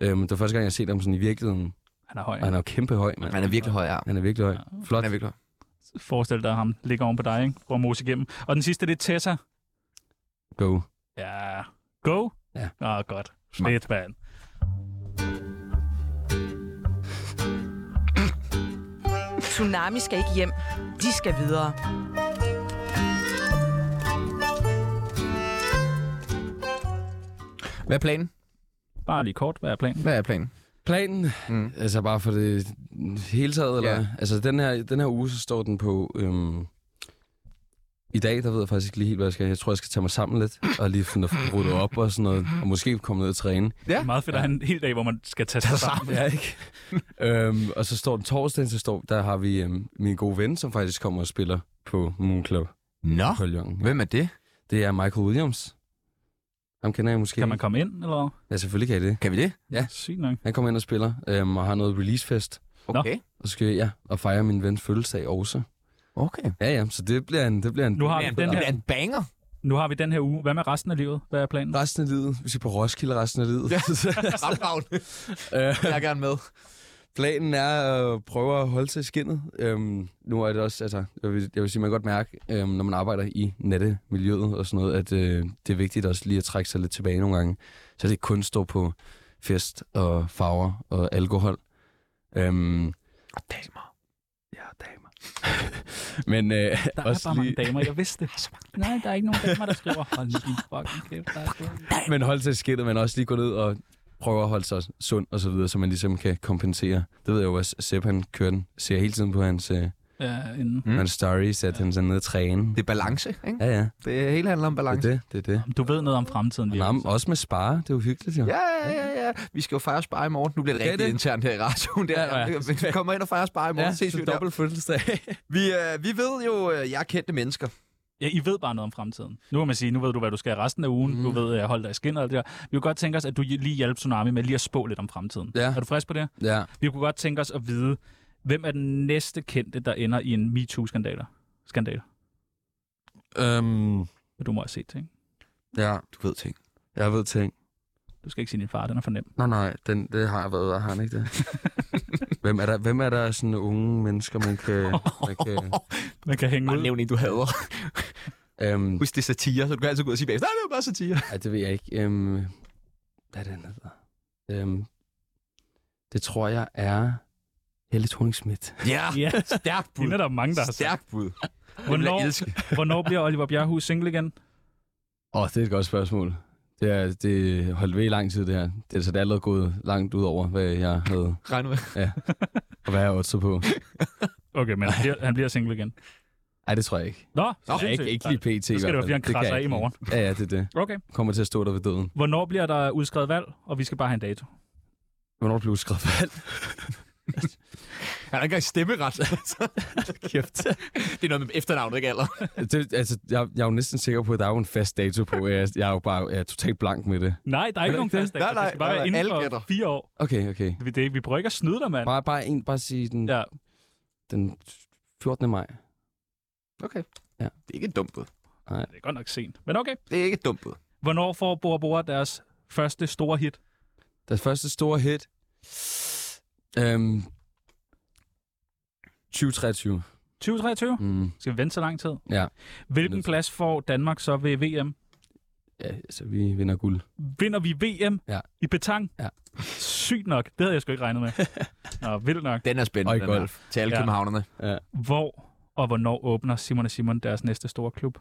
C: Øhm, det var første gang, jeg har set ham sådan i virkeligheden.
B: Han er høj.
C: Og han er jo kæmpe høj, mand.
A: Han er virkelig høj, ja.
C: Han er virkelig høj. Flot.
A: Han er virkelig høj.
B: Forestil dig, at ham ligger oven på dig, ikke? Prøv at mose igennem. Og den sidste, det er Tessa.
C: Go.
B: Ja. Go?
C: Ja.
B: Åh, oh, godt. Fedt, mand.
D: Tsunami skal ikke hjem. De skal videre.
A: Hvad er planen?
B: Bare lige kort, hvad er planen?
A: Hvad er planen?
C: Planen, mm. altså bare for det hele taget, eller?
A: Ja.
C: Yeah. Altså den her, den her uge, så står den på... Øhm, I dag, der ved jeg faktisk ikke lige helt, hvad jeg skal. Jeg tror, jeg skal tage mig sammen lidt, og lige finde at rydde op og sådan noget, og måske komme ned og træne.
B: Det er meget fedt, at have en hel dag, hvor man skal tage sig sammen.
C: Ja, ikke? øhm, og så står den torsdag, så står, der har vi øhm, min gode ven, som faktisk kommer og spiller på Moon Club
A: Nå,
C: på Lyon.
A: hvem er det?
C: Det er Michael Williams. Ham kender jeg måske.
B: Kan man
C: ikke.
B: komme ind, eller? hvad?
C: Ja, selvfølgelig kan jeg det.
A: Kan vi det?
C: Ja.
B: Sygt nok.
C: Han kommer ind og spiller, øhm, og har noget releasefest.
A: Okay.
C: Og så skal jeg ja, og fejre min vens fødselsdag også.
A: Okay.
C: Ja, ja, så det bliver en... Det bliver en
B: Nu har, vi
A: Men
B: den
A: det
B: her,
A: er en banger.
B: nu har vi den her uge. Hvad med resten af livet? Hvad er planen?
C: resten af livet. Vi skal på Roskilde resten af livet. Øh, Ja.
A: Ramravn. Jeg er gerne med.
C: Planen er at prøve at holde sig i skinnet. Øhm, nu er det også, altså, jeg vil, jeg vil sige, man kan godt mærke, øhm, når man arbejder i nattemiljøet og sådan noget, at øh, det er vigtigt også lige at trække sig lidt tilbage nogle gange. Så det ikke kun står på fest og farver og alkohol. Øhm, og damer. Ja, damer. Men øh,
B: Der er
C: også
B: bare mange
C: lige,
B: damer, jeg vidste det. Nej, der er ikke nogen damer, der skriver, hold nu din fucking kæft. der er det."
C: men holde sig i skinnet, men også lige gå ned og prøve at holde sig sund og så videre, så man ligesom kan kompensere. Det ved jeg jo også, at Sepp han kører den, ser hele tiden på hans, øh,
B: Ja, inden.
C: mm. hans stories, at han sådan nede og træne.
A: Det er balance, ikke?
C: Ja, ja.
A: Det hele handler om balance.
C: Det er det, det er det.
B: Du ved noget om fremtiden, vi
C: Nå, men også med spare, det er jo hyggeligt, jo.
A: Ja, ja, ja, ja. Vi skal jo fejre spare i morgen. Nu bliver det
C: Det er
A: rigtig
C: det.
A: internt her i radioen. Der.
C: Ja,
A: Ja,
C: ja.
A: ja. Vi kommer ind og fejrer spare i morgen. Ja, ses vi der.
C: fødselsdag.
A: Vi, øh, vi ved jo, øh, jeg er kendte mennesker.
B: Ja, I ved bare noget om fremtiden. Nu kan man sige, nu ved du, hvad du skal resten af ugen.
C: Mhm.
B: Mm. Du ved, at holde dig i skinnet og alt det der. Vi kunne godt tænke os, at du lige hjælper Tsunami med lige at spå lidt om fremtiden.
C: Ja.
B: Er du frisk på det?
C: Ja,
B: Vi kunne godt tænke os at vide, hvem er den næste kendte, der ender i en MeToo-skandal? Skandal.
C: øhm,
B: Du må have set ting.
C: ja,
A: Du ved ting.
C: jeg ved ting.
B: Du skal ikke sige din far, den er for nem.
C: Nej, nej, den, det har jeg været, og har han ikke det? hvem, er der, hvem er der sådan unge mennesker, man kan... Man kan
B: Man kan hænge ud.
A: Nævn en, du hader.
C: øhm,
A: Husk, det er satire, så du kan altid gå ud og sige bagefter, nej, det var bare satire.
C: Ej, det ved jeg ikke. Øhm, hvad er det, han hedder? Øhm, det tror jeg er Helle thorning -Smith.
A: Ja,
B: Ja,
A: stærkt bud.
B: det er der mange, der har sagt.
A: Stærkt bud. Det vil jeg
B: Hvornår,
A: elske.
B: hvornår bliver Oliver Bjerrehus single igen?
C: Åh, oh, det er et godt spørgsmål. Det, er, det holdt ved i lang tid, det her. Det, altså, det er allerede gået langt ud over, hvad jeg havde,
A: Regn med.
C: og hvad jeg otte på.
B: Okay, men han bliver, han bliver single igen.
C: Nej, det tror jeg ikke.
B: Nå,
C: Nå, jeg ikke, ikke lige pt. i
B: Så
C: hvert
B: skal det være,
C: fald.
B: fordi han
C: kan jeg
B: krasser af i
C: ikke.
B: morgen.
C: Ja, ja, det er det.
B: Okay.
C: Kommer til at stå der ved døden.
B: Hvornår bliver der udskrevet valg, og vi skal bare have en dato?
C: Hvornår blev skrevet valg?
A: Han har ikke engang stemmeret. Kæft. det er noget med efternavnet, ikke alder.
C: Det, altså, jeg, jeg er jo næsten sikker på, at der er jo en fast dato på. Jeg, jeg er jo bare jeg er totalt blank med det.
B: Nej, der er ikke nogen fast dato.
A: Nej, nej,
B: Det skal bare
A: nej,
B: være
A: nej.
B: inden
A: Alle
B: for
A: gætter.
B: fire år.
C: Okay, okay.
B: Vi, det, vi prøver ikke at snyde dig, mand.
C: Bare, bare en, bare sige den,
B: Ja.
C: den 14. maj.
A: Det er ikke et dumt bud.
B: Det er godt nok sent. Men okay.
A: Det er ikke et dumt bud.
B: Hvornår får Bora Bora deres første store hit?
C: Deres første store hit. Øhm, 2023.
B: 2023?
C: Mm.
B: Skal vi vente så lang tid?
C: Ja.
B: Hvilken plads får Danmark så ved VM?
C: ja, så vi vinder guld.
B: Vinder vi VM
C: Ja.
B: i betang?
C: Ja.
B: Sygt nok. Det havde jeg sgu ikke regnet med. Nå, vildt nok.
A: Den er spændende,
C: Og i
A: den her.
C: golf.
A: Til alle
B: Ja.
A: ja. københavnerne.
B: Hvor og hvornår åbner Simon og Simon deres næste store klub?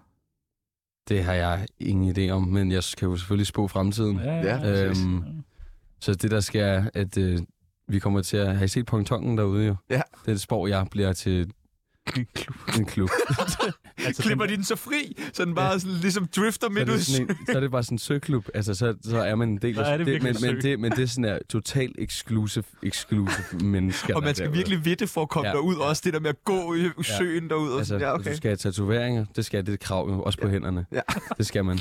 C: Det har jeg ingen idé om, men jeg kan jo selvfølgelig spå fremtiden. Ja.
A: Ja, øh,
C: Øhm, så det der sker, er, at øh, vi kommer til at have I set pontongen derude jo.
A: Ja.
C: Det er et spor, jeg bliver til
B: En klub.
C: en klub.
B: Altså,
A: Klipper
B: sådan-
A: de den så fri, så den bare sådan, ligesom drifter
C: så, er
A: midt ud.
C: det sådan en, så er det bare sådan en søklub. Altså, så, så er man en del
B: Så er det
C: det, men,
B: virkelig
C: men,
B: sø.
C: det, men det er sådan her totalt exclusive, exclusive mennesker.
A: Og
C: der er
A: man skal
C: derude.
A: virkelig vitte for at komme
C: Ja.
A: ja. derud. Også det der med at gå i søen derud. Og
C: Altså,
A: sådan.
C: ja, okay. du skal have tatoveringer, det skal det er et krav jo, også på hænderne.
A: Ja.
C: Det skal man.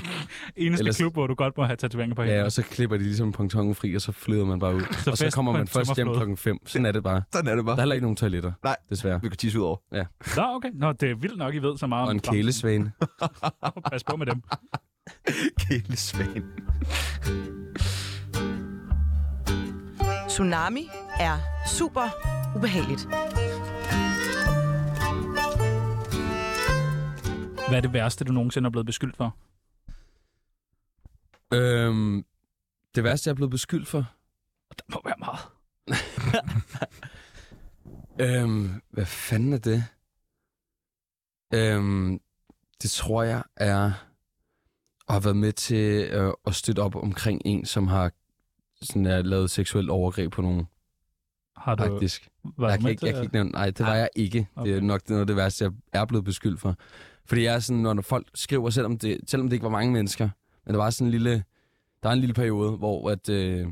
B: Eneste
C: Ellers-
B: klub, hvor du godt må have tatoveringer på
C: Ja,
B: hende.
C: og så klipper de ligesom pontongen fri, og så flyder man bare ud. Så og så
B: fest
C: kommer
B: på
C: man
B: en
C: først hjem
B: tømmerflåde.
C: klokken 5. Sådan er det bare.
A: Sådan er det
C: Der
A: bare.
C: er heller ikke nogen toiletter.
A: Nej.
C: Desværre.
A: Vi kan tisse ud over.
B: Nå, okay. Nå, det er vildt nok, I ved så meget
C: Og
B: om
C: en kælesvane.
B: Pas på med dem.
A: Kæle svan.
D: Tsunami er super ubehageligt.
B: Hvad er det værste, du nogensinde er blevet beskyldt for?
C: Øhm, det værste, jeg er blevet beskyldt for?
B: Der må være meget.
C: Øhm, hvad fanden er det? Øhm, det tror jeg er at have været med til øh, at støtte op omkring en, som har sådan, er, lavet seksuel overgreb på nogen,
G: Har du
C: faktisk.
G: været
C: jeg, kan
G: med
C: ikke,
G: til
C: jeg kan
G: at-
C: ikke nævne, nej, det var
G: Nej.
C: jeg ikke. Det er
G: Okay.
C: nok noget af det værste, jeg er blevet beskyldt for. Fordi jeg er sådan, når når folk skriver, selvom det, selvom det ikke var mange mennesker, men der var sådan en lille, der er en lille periode, hvor, at, øh,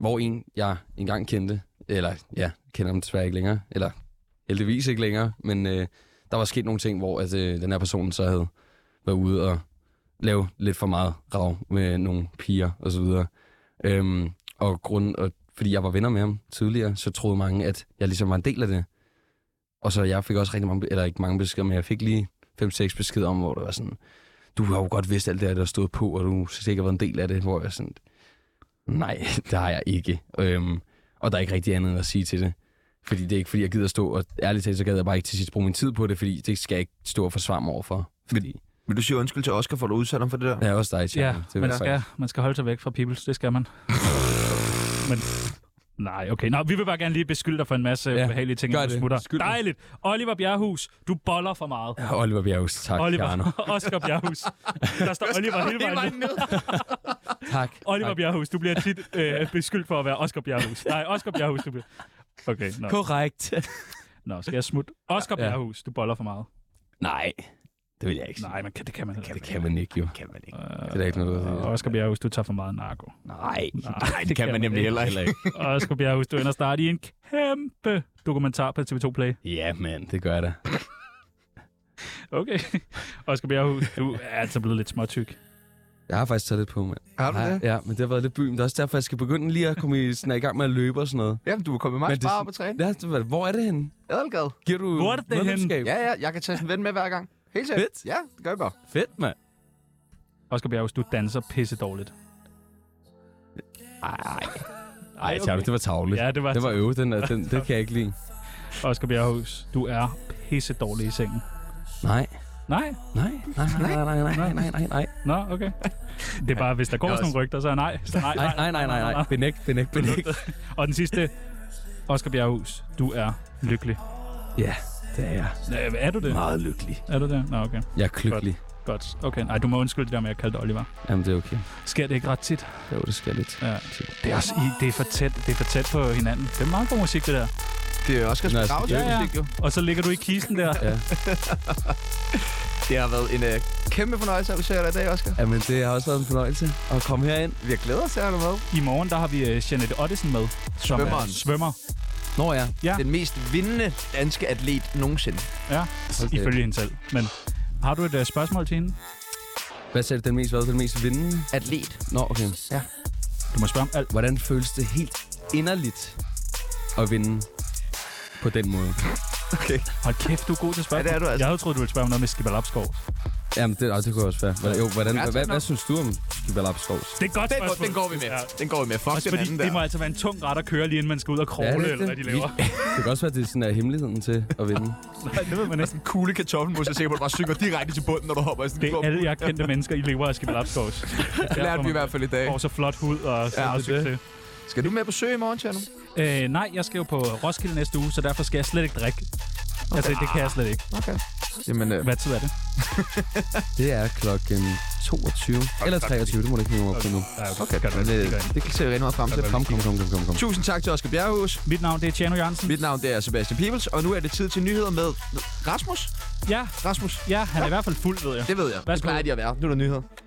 C: hvor en, jeg engang kendte, eller ja, kender ham desværre ikke længere, eller heldigvis ikke længere, men øh, der var sket nogle ting, hvor at, øh, den her person så havde været ude og lave lidt for meget rav med nogle piger og så videre. Øhm, og grund, og fordi jeg var venner med ham tidligere, så troede mange, at jeg ligesom var en del af det. Og så jeg fik også rigtig mange, eller ikke mange beskeder, men jeg fik lige 5-6 beskeder om, hvor det var sådan, du har jo godt vidst alt det her, der stod på, og du har sikkert været en del af det, hvor jeg sådan, nej, det har jeg ikke. Øhm, og der er ikke rigtig andet end at sige til det. Fordi det er ikke, fordi jeg gider stå, og ærligt talt, så gad jeg bare ikke til sidst bruge min tid på det, fordi det skal jeg ikke stå og forsvare mig overfor. Fordi,
A: Vil du sige undskyld til Oscar, for at du udsat ham for det der?
C: det er også dig, Charlie.
B: Ja,
C: vil
B: man
C: jeg
B: skal, man skal holde sig væk fra Peoples, det skal man. Men, nej, okay. Nå, vi vil bare gerne lige beskylde dig for en masse ja, ubehagelige ting,
C: gør
B: når du
C: det.
B: smutter.
C: Skyld mig.
B: Dejligt. Oliver Bjerrehus, du boller for meget.
C: faktisk- Oliver Bjerghus, tak, Oliver. Jarno.
B: Oliver, Oscar Bjerrehus. Der står Oliver hele vejen. ned.
C: Tak.
B: Oliver Bjerrehus, du bliver tit øh, beskyldt for at være Oscar Bjerrehus. Nej, Oscar Bjerrehus, du bliver... Okay, nå.
C: Korrekt.
B: nå skal jeg smutte? Oscar
C: Ja.
B: Bjerrehus, du boller for meget.
C: Nej, det vil jeg ikke sige.
B: Nej, man kan, det kan man heller
C: Det kan man ikke, jo.
A: Kan man ikke.
B: ikke.
C: Det er der ikke noget, der
B: Øh,
C: hedder.
B: Oscar Bjerrehus, du tager for meget narko.
C: Nej.
B: Nej,
A: Det kan man nemlig heller ikke.
B: Oscar Bjerrehus, du ender snart i en kæmpe dokumentar på TV2 Play.
C: Ja, mand, det gør jeg da.
B: Okay. Oscar Bjerrehus, du er altså blevet lidt småtyk.
C: Jeg har faktisk taget lidt på, mand.
A: Har du
C: Ja,
A: det?
C: Ja, men det har været lidt byen. Det er også derfor, jeg skal begynde lige at komme i, sådan, i gang med at løbe og sådan noget.
A: Jamen, du er kommet
C: Men
A: meget
C: det
A: bare
C: er
A: op og træne.
C: Ja, det var- hvor er det henne?
A: Adelgade.
C: Giver du
B: Hvor er det henne?
C: medlemskab?
A: Ja, ja, jeg kan tage sådan en ven med hver gang. Helt sikkert.
C: Fedt.
A: Ja, det gør jeg bare.
C: Fedt, mand.
B: Oscar Bjerrehus, du danser pisse dårligt.
C: Ej, Ej, Charlie, det var tavligt.
B: Ja, det var,
C: Det var øve, den, der, den, det kan jeg ikke lide.
B: Oscar Bjerrehus, du er pisse dårlig i sengen.
C: Nej.
B: Nej?
C: Nej, nej, nej, nej, nej, nej, nej, nej, nej,
B: Nå, okay. Det er bare, hvis der går sådan nogle rygter, så er nej. Så nej,
C: nej, nej, nej, nej, nej, benægt, benægt, benægt.
B: Og den sidste, Oscar Bjerrehus, du er lykkelig.
C: Ja, det er jeg.
B: Øh, Er du det?
C: Meget lykkelig.
B: Er du det? Nå, okay.
C: Jeg er lykkelig.
B: Godt. Okay, nej, du må undskylde det der med, at jeg kaldte dig Oliver.
C: Jamen, det er okay.
B: Sker det ikke ret tit?
C: Jo, det skal lidt.
B: Ja. Det er, også, i- det, er for tæt, det er for tæt på hinanden. Det er meget god musik, det der.
A: Det er Oscars
C: Nå,
A: begravelse.
C: ja,
B: ja.
A: musik, jo.
B: Og så ligger du i kisten der.
A: Det har været en øh, kæmpe fornøjelse at besøge dig i dag, Oscar.
C: Jamen, det har også været en fornøjelse at komme herind.
A: Vi har glædet os til at have dig med.
B: I morgen, der har vi øh, Jeanette Ottesen med. Som
A: Svømmeren.
B: Er svømmer,
C: Når jeg
A: Den mest vindende danske atlet nogensinde.
C: Okay.
B: ifølge hende selv. Men har du et øh, spørgsmål til hende?
C: Hvad sagde du, den mest, hvad, den mest vindende?
A: Atlet.
C: Nå, okay.
B: Du må spørge om alt.
C: Hvordan føles det helt inderligt at vinde på den måde?
B: Hold kæft, du er god til spørgsmål.
A: Ja, det er du altså.
B: Jeg havde troet, du ville spørge om noget med Skipper Lapskov.
C: Jamen, det, ah, det kunne også være. Hvordan, jo, hvordan,
A: Ja,
C: hvad,
A: tak
C: hvad,
A: nok.
C: hvad synes du om Skibber Lapskovs?
B: Det er et godt
A: Den, går-
B: spørgsmål.
A: den går vi med.
B: Ja.
A: Den går vi med. Fuck den
B: Også fordi
A: anden
B: det må
A: der.
B: altså være en tung ret at køre lige inden man skal ud og kravle,
C: Ja, det er
B: eller hvad de
C: det.
B: laver.
C: Det kan også være, at det er sådan er hemmeligheden til at vinde.
B: Nej, det ved man ikke.
A: Kugle kartoffelmus, jeg er sikker på, at du bare synger direkte til bunden, når du hopper i sådan
B: Det
A: en
B: er alle jeg kendte mennesker, I lever af Skipper Lapskovs. Det
A: Lærte vi i hvert fald i dag.
B: Og så flot hud og så
A: Ja,
B: meget
A: det er det.
B: succes.
A: Skal du med på sø i morgen, Tjerno?
B: Øh, nej, jeg skal jo på Roskilde næste uge, så derfor skal jeg slet ikke drikke. Okay. Altså, det kan jeg slet ikke.
A: Okay. Jamen, øh,
B: Hvad tid er det?
C: Det er klokken 22. Eller 23, det må du ikke hænge mig op til nu.
B: Ja, Ah, okay.
A: okay.
B: Gør det,
A: Men,
B: det
A: øh,
B: gør jeg.
A: det ser vi rigtig meget frem til.
C: Kom, kom, kom, kom, kom, kom.
A: Tusind tak til Oscar Bjerghus.
B: Mit navn det er Tjerno Jørgensen.
A: Mit navn det er Sebastian Pibels, og nu er det tid til nyheder med Rasmus.
B: Ja,
A: Rasmus,
B: ja, han er i hvert fald fuld, ved jeg.
A: det ved jeg. Det
B: Værsgo.
A: plejer de at være. Nu er der nyheder.